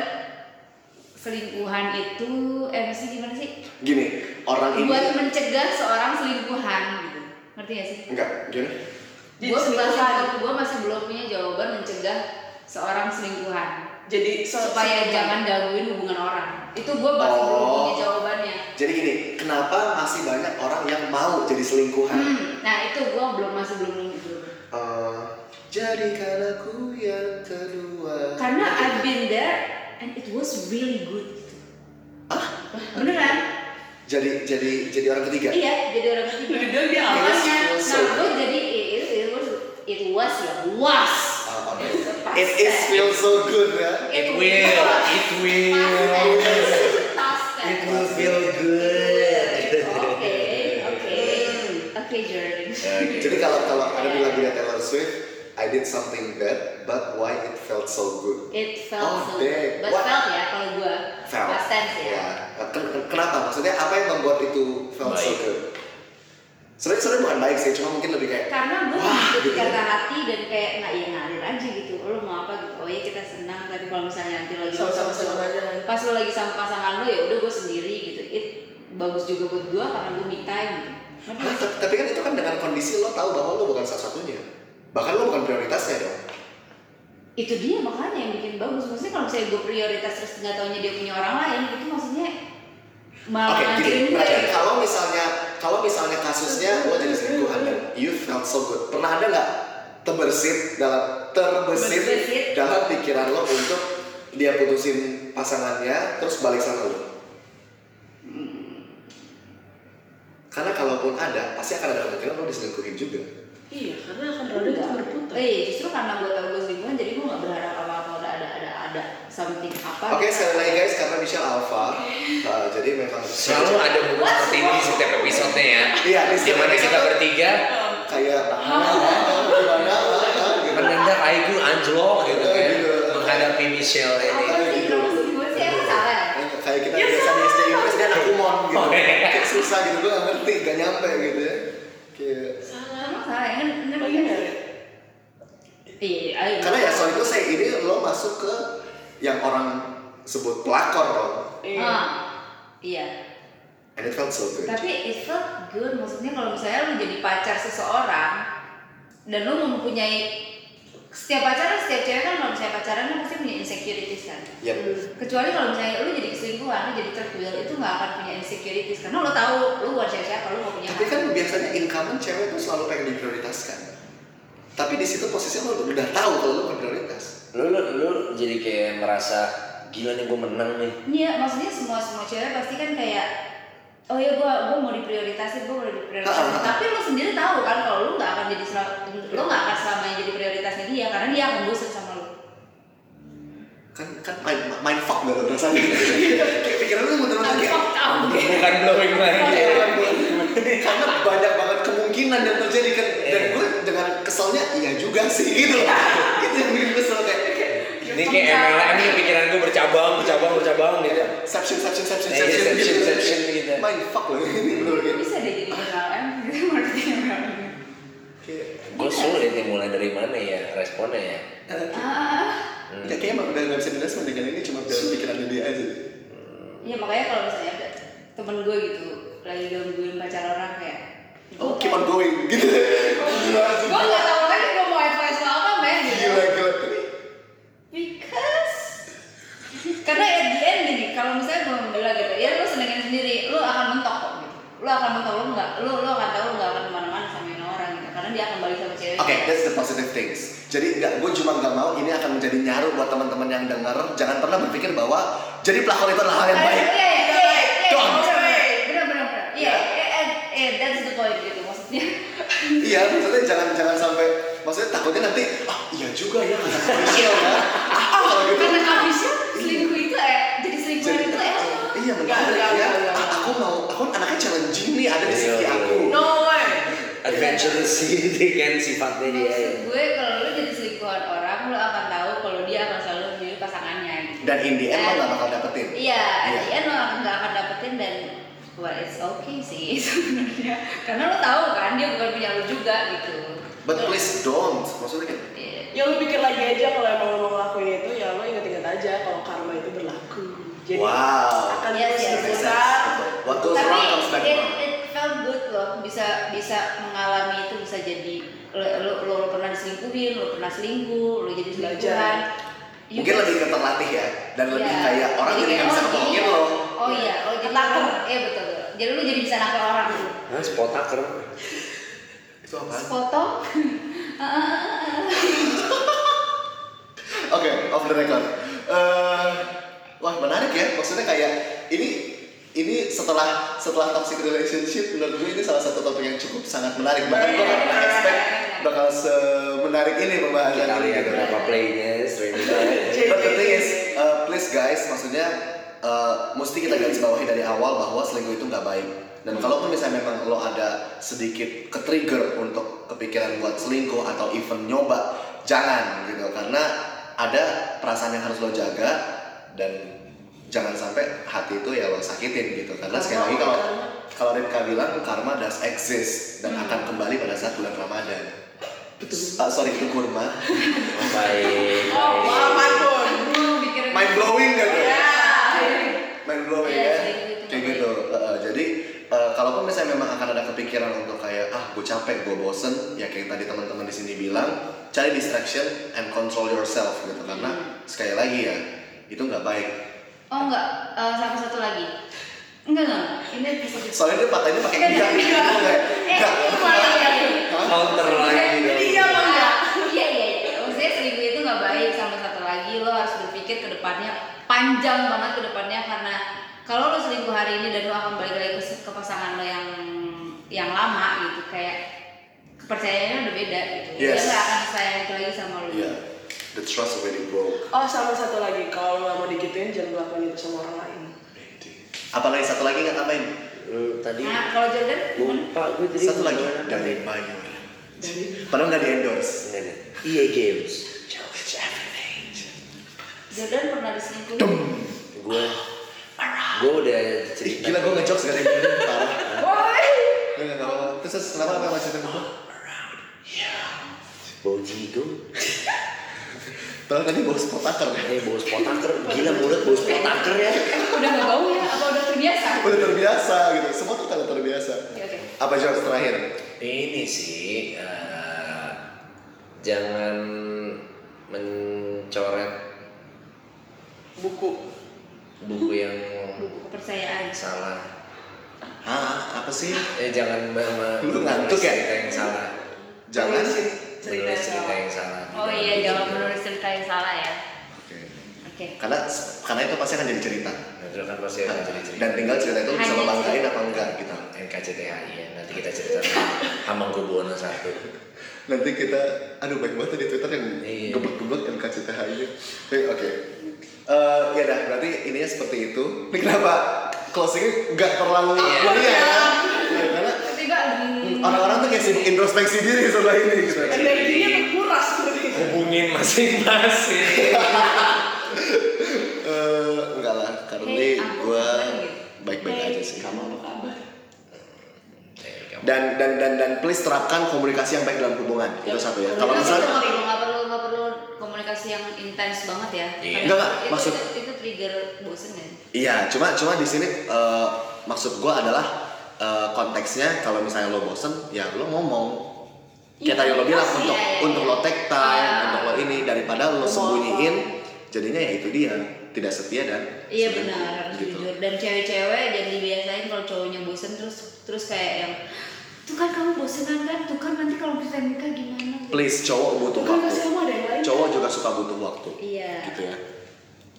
[SPEAKER 4] selingkuhan itu eh maksudnya gimana sih
[SPEAKER 1] gini orang ini ya.
[SPEAKER 4] buat mencegah seorang selingkuhan gitu ngerti gak sih
[SPEAKER 1] enggak gimana
[SPEAKER 2] Jadi
[SPEAKER 4] gue
[SPEAKER 2] selingkuhan.
[SPEAKER 4] gue masih belum punya jawaban mencegah seorang selingkuhan
[SPEAKER 2] jadi so-
[SPEAKER 4] supaya
[SPEAKER 2] so-
[SPEAKER 4] jangan gangguin hubungan orang itu gue masih belum
[SPEAKER 1] Oh.
[SPEAKER 4] punya jawabannya
[SPEAKER 1] jadi gini kenapa masih banyak orang yang mau jadi selingkuhan
[SPEAKER 4] hmm, nah itu gue belum masih belum belum
[SPEAKER 1] Eh, jadikan aku yang kedua
[SPEAKER 4] karena I've been there and it was really good gitu. beneran
[SPEAKER 1] jadi jadi jadi orang
[SPEAKER 3] Ya.
[SPEAKER 1] ketiga
[SPEAKER 4] iya jadi orang ketiga
[SPEAKER 2] Jadi dia- dia
[SPEAKER 4] makanya
[SPEAKER 1] awalnya.
[SPEAKER 4] nah gue jadi it, it, it was it was ya was
[SPEAKER 1] Ah, oke.
[SPEAKER 4] Pas-
[SPEAKER 1] it is feel so good ya
[SPEAKER 3] It will, it will, it will feel good.
[SPEAKER 4] Oke, oke, oke, Jordan.
[SPEAKER 3] Oke.
[SPEAKER 1] Jadi kalau kalau ada di lagunya Taylor Swift, I did something bad, but why it felt so good?
[SPEAKER 4] It felt
[SPEAKER 1] Oh,
[SPEAKER 4] so
[SPEAKER 1] dang.
[SPEAKER 4] good. But
[SPEAKER 1] What?
[SPEAKER 4] felt ya kalau gua
[SPEAKER 1] Felt.
[SPEAKER 4] past tense ya.
[SPEAKER 1] Ken- ken- Kenapa? Maksudnya apa yang membuat itu felt so
[SPEAKER 3] Baik.
[SPEAKER 1] good? Sebenarnya sebenarnya bukan baik sih, cuma mungkin lebih kayak
[SPEAKER 4] Karena gue
[SPEAKER 1] Wah,
[SPEAKER 4] ikut
[SPEAKER 1] gitu.
[SPEAKER 4] kata hati dan kayak nggak ya ngalir aja gitu. Lo mau apa gitu? Oh ya kita senang. Tapi kalau misalnya nanti lagi
[SPEAKER 2] Sama-sama senang aja.
[SPEAKER 4] pas lo lagi sama pasangan lo ya udah gue sendiri gitu. It bagus juga buat gue karena gue me time. Gitu. Ngerti
[SPEAKER 1] Hah,
[SPEAKER 4] nggak sih?
[SPEAKER 1] tapi- tapi kan itu kan dengan kondisi lo tahu bahwa lo bukan satu-satunya, bahkan lo bukan prioritasnya dong.
[SPEAKER 4] itu dia makanya yang bikin bagus maksudnya kalau misalnya gue prioritas terus nggak taunya dia punya orang lain itu maksudnya malah
[SPEAKER 1] Oke,
[SPEAKER 4] ngancurin ya.
[SPEAKER 1] gini.
[SPEAKER 4] gue
[SPEAKER 1] Berarti kalau misalnya kalau misalnya kasusnya lo jadi selingkuhan dan you felt so good, pernah ada nggak terbersit dalam terbesit
[SPEAKER 4] Terbesit.
[SPEAKER 1] dalam pikiran lo untuk dia putusin pasangannya terus balik sama lo? Karena kalaupun ada, pasti akan ada kemungkinan lo diselingkuhin juga.
[SPEAKER 2] iya karena akan roda itu berputar
[SPEAKER 4] Eh, justru karena gue tau gue selingkuhan jadi gue nggak berharap apa-apa udah ada ada ada something apa
[SPEAKER 1] Oke, sekali lagi guys, karena Michelle Alpha, uh, jadi memang
[SPEAKER 3] Selalu ada momen seperti ini di setiap episode-nya ya.
[SPEAKER 1] Iya, di
[SPEAKER 3] Di
[SPEAKER 1] setiap
[SPEAKER 3] mana
[SPEAKER 1] episode.
[SPEAKER 3] kita bertiga
[SPEAKER 1] kayak nah, gimana, ah, ah, gitu.
[SPEAKER 3] menendang aiku anjlok gitu kan
[SPEAKER 1] Gitu.
[SPEAKER 3] menghadapi Michelle ini.
[SPEAKER 4] apa sih kalau selingkuhan sih emang salah ya?
[SPEAKER 1] kayak kita biasa di SD Inggris dia aku mon gitu
[SPEAKER 3] Oh, iya.
[SPEAKER 1] kayak susah gitu gue gak ngerti gak nyampe gitu ya kayak
[SPEAKER 4] emang salah ya kan bener
[SPEAKER 2] Lagi
[SPEAKER 4] kan?
[SPEAKER 2] merit.
[SPEAKER 4] iya ayo
[SPEAKER 1] karena ya soal itu saya ini lo masuk ke yang orang sebut pelakor dong
[SPEAKER 2] Iya.
[SPEAKER 4] Ah, iya
[SPEAKER 1] and it felt so good
[SPEAKER 4] tapi it felt good maksudnya kalau misalnya lu jadi pacar seseorang dan lu mempunyai setiap pacaran setiap cewek kan kalau misalnya pacaran kan pasti punya insecurities kan
[SPEAKER 1] ya
[SPEAKER 4] kecuali kalau misalnya lu jadi selingkuhan lu jadi terkuil itu nggak akan punya insecurities karena lu tahu lu buat siapa siapa lu nggak punya
[SPEAKER 1] tapi kan biasanya incumbent cewek tuh selalu pengen diprioritaskan tapi di situ posisinya lo udah tahu kalau lo berprioritas
[SPEAKER 3] Lu, lu, lu jadi kayak merasa gila nih gue menang nih.
[SPEAKER 4] Iya, maksudnya semua semua cewek pasti kan kayak oh ya gua gua mau diprioritasin, gua mau diprioritasin.
[SPEAKER 1] Ah.
[SPEAKER 4] Tapi lu sendiri tahu kan kalau lu nggak akan jadi sel- lu nggak akan selamanya jadi prioritasnya dia karena dia akan bosan sama lu.
[SPEAKER 1] kan kan main main fuck gitu rasanya kayak pikiran lo muter-muter
[SPEAKER 4] Tapi
[SPEAKER 1] kayak
[SPEAKER 4] kok tahu gitu.
[SPEAKER 3] Bukan blowing lagi.
[SPEAKER 1] karena banyak banget kemungkinan yang terjadi iya kan dan gue dengan keselnya iya juga sih gitu loh. itu yang bikin kesel kayak
[SPEAKER 3] Ini kayak MLM nih pikiran gue bercabang, bercabang, bercabang gitu.
[SPEAKER 1] Seption, seption, seption,
[SPEAKER 3] Iya,
[SPEAKER 1] seption,
[SPEAKER 3] seption, seption gitu.
[SPEAKER 1] Main fuck loh ini bener gitu.
[SPEAKER 4] bisa deh jadi MLM gitu marketing MLM
[SPEAKER 3] Hmm.
[SPEAKER 1] Kayak,
[SPEAKER 3] Gue sulit nih mulai dari mana ya responnya ya. Hmm.
[SPEAKER 4] ah
[SPEAKER 1] eh, ya kayaknya emang udah nggak bisa direspon dengan ini cuma dalam pikirannya dia aja.
[SPEAKER 4] ya makanya kalau misalnya ada temen gue gitu lagi gangguin pacar orang kayak
[SPEAKER 1] Oh, keep on going gitu.
[SPEAKER 3] Iya.
[SPEAKER 1] Gila,
[SPEAKER 4] gue
[SPEAKER 1] gila,
[SPEAKER 4] gak tau lagi gue mau advice lo apa men gitu
[SPEAKER 1] gila, gila.
[SPEAKER 4] because karena at the end gini kalau misalnya gue membela gitu ya lo senengin sendiri lo akan mentok kok gitu lo akan mentok lo nggak lo lo akan tahu lo nggak akan kemana-mana sama ini orang gitu karena dia akan balik sama cewek
[SPEAKER 1] Oke, that's the positive things. Jadi nggak, gue cuma nggak mau ini akan menjadi nyaru buat teman-teman yang denger. Jangan pernah berpikir bahwa jadi pelakor itu adalah hal yang baik.
[SPEAKER 4] Iya, iya, iya, iya,
[SPEAKER 1] Dong.
[SPEAKER 4] bener, bener, bener, bener. Iya,
[SPEAKER 1] Ya.
[SPEAKER 4] iya, iya, iya, that's the point gitu maksudnya.
[SPEAKER 1] Iya, maksudnya jangan jangan sampai maksudnya takutnya nanti ah iya juga ya kata Michelle ya. Ah, kalau gitu.
[SPEAKER 4] Karena abisnya selingkuh itu eh jadi selingkuh
[SPEAKER 1] Jadi
[SPEAKER 4] itu eh apa?
[SPEAKER 1] iya
[SPEAKER 2] Nggak,
[SPEAKER 1] menarik
[SPEAKER 2] nggak,
[SPEAKER 1] ya.
[SPEAKER 2] nggak, nggak.
[SPEAKER 1] Ah, aku mau aku anaknya challenging nih ada di
[SPEAKER 3] Iya,
[SPEAKER 1] sisi
[SPEAKER 3] iya.
[SPEAKER 1] aku.
[SPEAKER 2] No way.
[SPEAKER 3] Adventurous gitu kan
[SPEAKER 1] Iya,
[SPEAKER 3] sifatnya dia. ya.
[SPEAKER 4] Maksud gue kalau lu jadi selingkuhan orang, lu akan tahu kalau dia akan selalu memilih pasangannya gitu.
[SPEAKER 1] Dan in the end lo nggak bakal dapetin.
[SPEAKER 4] Iya,
[SPEAKER 1] Iya.
[SPEAKER 4] at the end lo akan- nggak akan dapetin dan well it's okay sih sebenarnya. Karena lo tahu kan dia bukan punya lu juga gitu.
[SPEAKER 1] But please don't. Maksudnya kayak
[SPEAKER 4] Iya.
[SPEAKER 2] Ya lu pikir lagi aja kalau emang lu mau ngelakuin itu ya lu inget-inget aja kalau karma itu berlaku. Jadi
[SPEAKER 1] wow.
[SPEAKER 2] akan
[SPEAKER 4] Iya,
[SPEAKER 2] terus
[SPEAKER 4] iya,
[SPEAKER 1] Makes
[SPEAKER 2] diputar.
[SPEAKER 1] sense. What goes
[SPEAKER 4] Tapi
[SPEAKER 1] wrong comes back
[SPEAKER 4] it,
[SPEAKER 1] wrong.
[SPEAKER 4] it felt good loh bisa bisa mengalami itu bisa jadi lo, lo, lo pernah diselingkuhin, lo pernah selingkuh, lo jadi selingkuhan.
[SPEAKER 2] Belajar.
[SPEAKER 4] You
[SPEAKER 1] Mungkin
[SPEAKER 4] guys-
[SPEAKER 1] lebih ke terlatih ya dan lebih
[SPEAKER 4] Iya.
[SPEAKER 1] kayak orang jadi nggak
[SPEAKER 4] kayak,
[SPEAKER 1] bisa
[SPEAKER 4] oh,
[SPEAKER 1] ngomongin
[SPEAKER 4] iya.
[SPEAKER 1] lo.
[SPEAKER 4] Oh iya, oh jadi
[SPEAKER 2] Takut.
[SPEAKER 4] Iya betul. betul. Jadi lu jadi bisa nakal orang.
[SPEAKER 3] Nah, spotaker.
[SPEAKER 1] Itu apa?
[SPEAKER 4] Sepotong.
[SPEAKER 1] Oke, off the record. Eh, wah menarik ya. Maksudnya kayak ini ini setelah setelah toxic relationship menurut gue ini salah satu topik yang cukup sangat menarik bahkan gue gak pernah expect bakal semenarik ini pembahasan
[SPEAKER 3] Kita
[SPEAKER 1] ini
[SPEAKER 3] lihat
[SPEAKER 1] gitu.
[SPEAKER 3] berapa playnya, streamingnya.
[SPEAKER 1] But the thing is, uh, please guys, maksudnya uh, mesti kita garis bawahi dari awal bahwa selingkuh itu nggak baik. Dan kalaupun misalnya memang lo ada sedikit ke trigger untuk kepikiran buat selingkuh atau even nyoba, jangan gitu karena ada perasaan yang harus lo jaga dan jangan sampai hati itu ya lo sakitin gitu karena sekali lagi kalau kalau Ripka bilang karma does exist dan akan kembali pada saat bulan Ramadan. Betul. sorry itu kurma.
[SPEAKER 3] Oh, baik.
[SPEAKER 2] Oh,
[SPEAKER 1] Iya.
[SPEAKER 2] wah, mantul.
[SPEAKER 4] Mikirin.
[SPEAKER 1] Mind blowing gitu.
[SPEAKER 2] Ya.
[SPEAKER 1] main blowing
[SPEAKER 4] Iya,
[SPEAKER 1] ya
[SPEAKER 4] sering gitu,
[SPEAKER 1] kayak
[SPEAKER 4] makanya.
[SPEAKER 1] gitu Heeh, jadi eh, kalaupun misalnya memang akan ada kepikiran untuk kayak ah gue capek gue bosen ya kayak tadi teman-teman di sini bilang cari distraction and control yourself gitu karena
[SPEAKER 4] Iya.
[SPEAKER 1] sekali lagi ya itu nggak baik
[SPEAKER 4] Oh enggak, Eh, sama satu lagi. Enggak enggak. Ini episode.
[SPEAKER 1] soalnya dia patahinnya pakai
[SPEAKER 4] Enggak,
[SPEAKER 1] enggak
[SPEAKER 4] enggak.
[SPEAKER 1] gitu kayak
[SPEAKER 4] Eh,
[SPEAKER 1] enggak
[SPEAKER 4] ini malah yang
[SPEAKER 1] Hah?
[SPEAKER 3] counter lagi dong.
[SPEAKER 2] Iya, Bang.
[SPEAKER 4] Ah, Iya iya. iya. Maksudnya selingkuh itu nggak baik sama satu lagi lo harus berpikir ke depannya panjang banget ke depannya karena kalau lo selingkuh hari ini dan lo akan balik lagi ke, ke pasangan lo yang yang lama gitu kayak kepercayaannya udah beda gitu.
[SPEAKER 1] Yes.
[SPEAKER 4] Dia nggak akan sayang itu lagi sama lo.
[SPEAKER 1] iya the trust already broke
[SPEAKER 2] Oh sama satu lagi kalau lu nggak mau digituin jangan ngelakuin itu sama orang lain.
[SPEAKER 1] apalagi satu lagi nggak tambahin
[SPEAKER 3] Lu tadi
[SPEAKER 4] Nah kalau Jordan gimana?
[SPEAKER 3] lupa gue tadi.
[SPEAKER 1] satu lagi
[SPEAKER 3] gimana?
[SPEAKER 1] dari banyak padahal nggak di endorse
[SPEAKER 3] Enggak, enggak. EA E Games.
[SPEAKER 4] Jordan pernah diselingkuhin?
[SPEAKER 3] Gue gue udah cerita.
[SPEAKER 1] gila gue ngejokes gak ada yang dengerin, parah
[SPEAKER 4] Woi.
[SPEAKER 1] Nggak, nggak, nggak apa-apa. terus terus kenapa apa masih tembus
[SPEAKER 3] Bau jigo.
[SPEAKER 1] Padahal tadi bau spotaker ya.
[SPEAKER 3] Eh bau spotaker. Gila mulut bau spotaker ya.
[SPEAKER 4] Udah nggak bau ya? Apa udah terbiasa?
[SPEAKER 1] Udah terbiasa gitu, semua tuh tanda terbiasa.
[SPEAKER 4] Oke oke.
[SPEAKER 1] Apa George terakhir?
[SPEAKER 3] Ini sih eh, jangan mencoret
[SPEAKER 2] Buku.
[SPEAKER 3] buku yang
[SPEAKER 4] Buku kepercayaan.
[SPEAKER 3] salah.
[SPEAKER 1] Hah, apa sih?
[SPEAKER 3] Eh jangan me- me-
[SPEAKER 1] Lu ngantuk ya?
[SPEAKER 3] cerita yang salah.
[SPEAKER 1] Jangan.
[SPEAKER 2] Tulisin cerita
[SPEAKER 3] Menulis cerita
[SPEAKER 2] yang
[SPEAKER 3] yang salah.
[SPEAKER 4] Oh iya, jangan menulis cerita yang salah ya.
[SPEAKER 1] Oke.
[SPEAKER 4] Oke.
[SPEAKER 1] Karena karena itu pasti akan jadi cerita.
[SPEAKER 3] Nah, Itu kan pasti akan jadi cerita.
[SPEAKER 1] Dan tinggal cerita itu bisa
[SPEAKER 4] Hanya
[SPEAKER 1] lo banggain apa enggak gitu.
[SPEAKER 3] NKCTHI ya, nanti kita cerita Hamengkubuwono satu.
[SPEAKER 1] Nanti kita, aduh banyak banget tuh di Twitter yang kan
[SPEAKER 3] Iya.
[SPEAKER 1] geblek-geblek NKCTHI. Eh, Oke. Eh, ya dah, berarti ininya seperti itu. Ini kenapa closingnya nggak terlalu
[SPEAKER 3] Iya.
[SPEAKER 1] ini ya? Iya, Karena
[SPEAKER 4] Tiba-tiba hmm,
[SPEAKER 1] orang-orang tuh kayak sibuk introspeksi diri setelah ini gitu.
[SPEAKER 3] Iya.
[SPEAKER 2] energinya terkuras berarti
[SPEAKER 3] hubungin masing-masing
[SPEAKER 1] Eh, enggak lah, currently
[SPEAKER 4] Hey, aku
[SPEAKER 1] gue
[SPEAKER 4] kabar gitu.
[SPEAKER 1] baik-baik
[SPEAKER 4] Hey,
[SPEAKER 1] aja sih.
[SPEAKER 2] kamu apa kabar
[SPEAKER 3] Eh,
[SPEAKER 1] Dan dan dan dan please terapkan komunikasi yang baik dalam hubungan. Itu satu ya. Kalau
[SPEAKER 4] misalnya
[SPEAKER 1] misalnya
[SPEAKER 4] perlu nggak perlu nggak perlu komunikasi yang intens banget ya.
[SPEAKER 3] Iya.
[SPEAKER 4] Karena
[SPEAKER 1] Enggak, enggak,
[SPEAKER 4] itu-
[SPEAKER 1] maksud-
[SPEAKER 4] itu, itu trigger bosen ya.
[SPEAKER 1] Iya, cuma cuma di sini eh, maksud gua adalah eh, konteksnya kalau misalnya lo bosen, ya lo ngomong. Kayak
[SPEAKER 4] Iya,
[SPEAKER 1] tadi lo bilang
[SPEAKER 4] pasti,
[SPEAKER 1] untuk
[SPEAKER 4] iya, iya,
[SPEAKER 1] untuk
[SPEAKER 4] iya.
[SPEAKER 1] lo take time,
[SPEAKER 4] Iya.
[SPEAKER 1] untuk lo ini daripada lo sembunyiin, jadinya ya itu dia tidak setia dan
[SPEAKER 4] Iya
[SPEAKER 1] selingkuh,
[SPEAKER 4] benar harus
[SPEAKER 1] gitu.
[SPEAKER 4] jujur dan cewek-cewek jadi biasain kalau cowoknya bosen terus terus kayak yang tuh kan kamu bosenan kan tuh kan nanti kalau kita nikah gimana?
[SPEAKER 1] Please cowok butuh
[SPEAKER 2] bukan
[SPEAKER 1] waktu.
[SPEAKER 2] kasih kamu ada yang lain
[SPEAKER 1] Cowok juga suka butuh waktu.
[SPEAKER 4] Iya.
[SPEAKER 1] Gitu ya.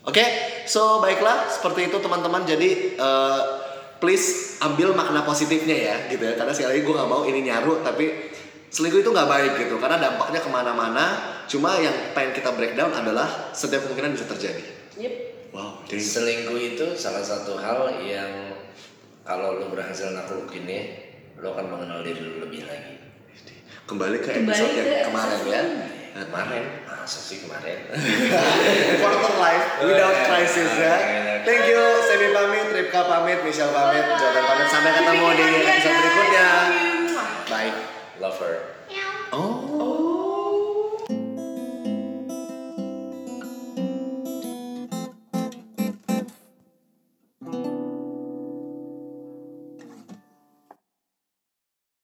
[SPEAKER 1] Oke, so baiklah seperti itu teman-teman. Jadi eh, please ambil makna positifnya ya, gitu ya. Karena sekali lagi gue nggak mau ini nyaru, tapi selingkuh itu nggak baik gitu. Karena dampaknya kemana-mana. Cuma yang pengen kita breakdown adalah setiap kemungkinan bisa terjadi.
[SPEAKER 2] yep
[SPEAKER 1] Wow, dang.
[SPEAKER 3] selingkuh itu salah satu hal yang kalau lo berhasil naklukin ya lo akan mengenal diri lo lebih lagi
[SPEAKER 1] kembali ke
[SPEAKER 4] Kembali
[SPEAKER 1] episode
[SPEAKER 4] ke
[SPEAKER 1] yang kemarin ya.
[SPEAKER 3] kemarin masa sih kemarin
[SPEAKER 1] Quarter life without crisis ya. Thank you, Semi pamit, Ripka pamit, Michelle pamit, Jordan pamit. Sampai ketemu di episode berikutnya. Oh.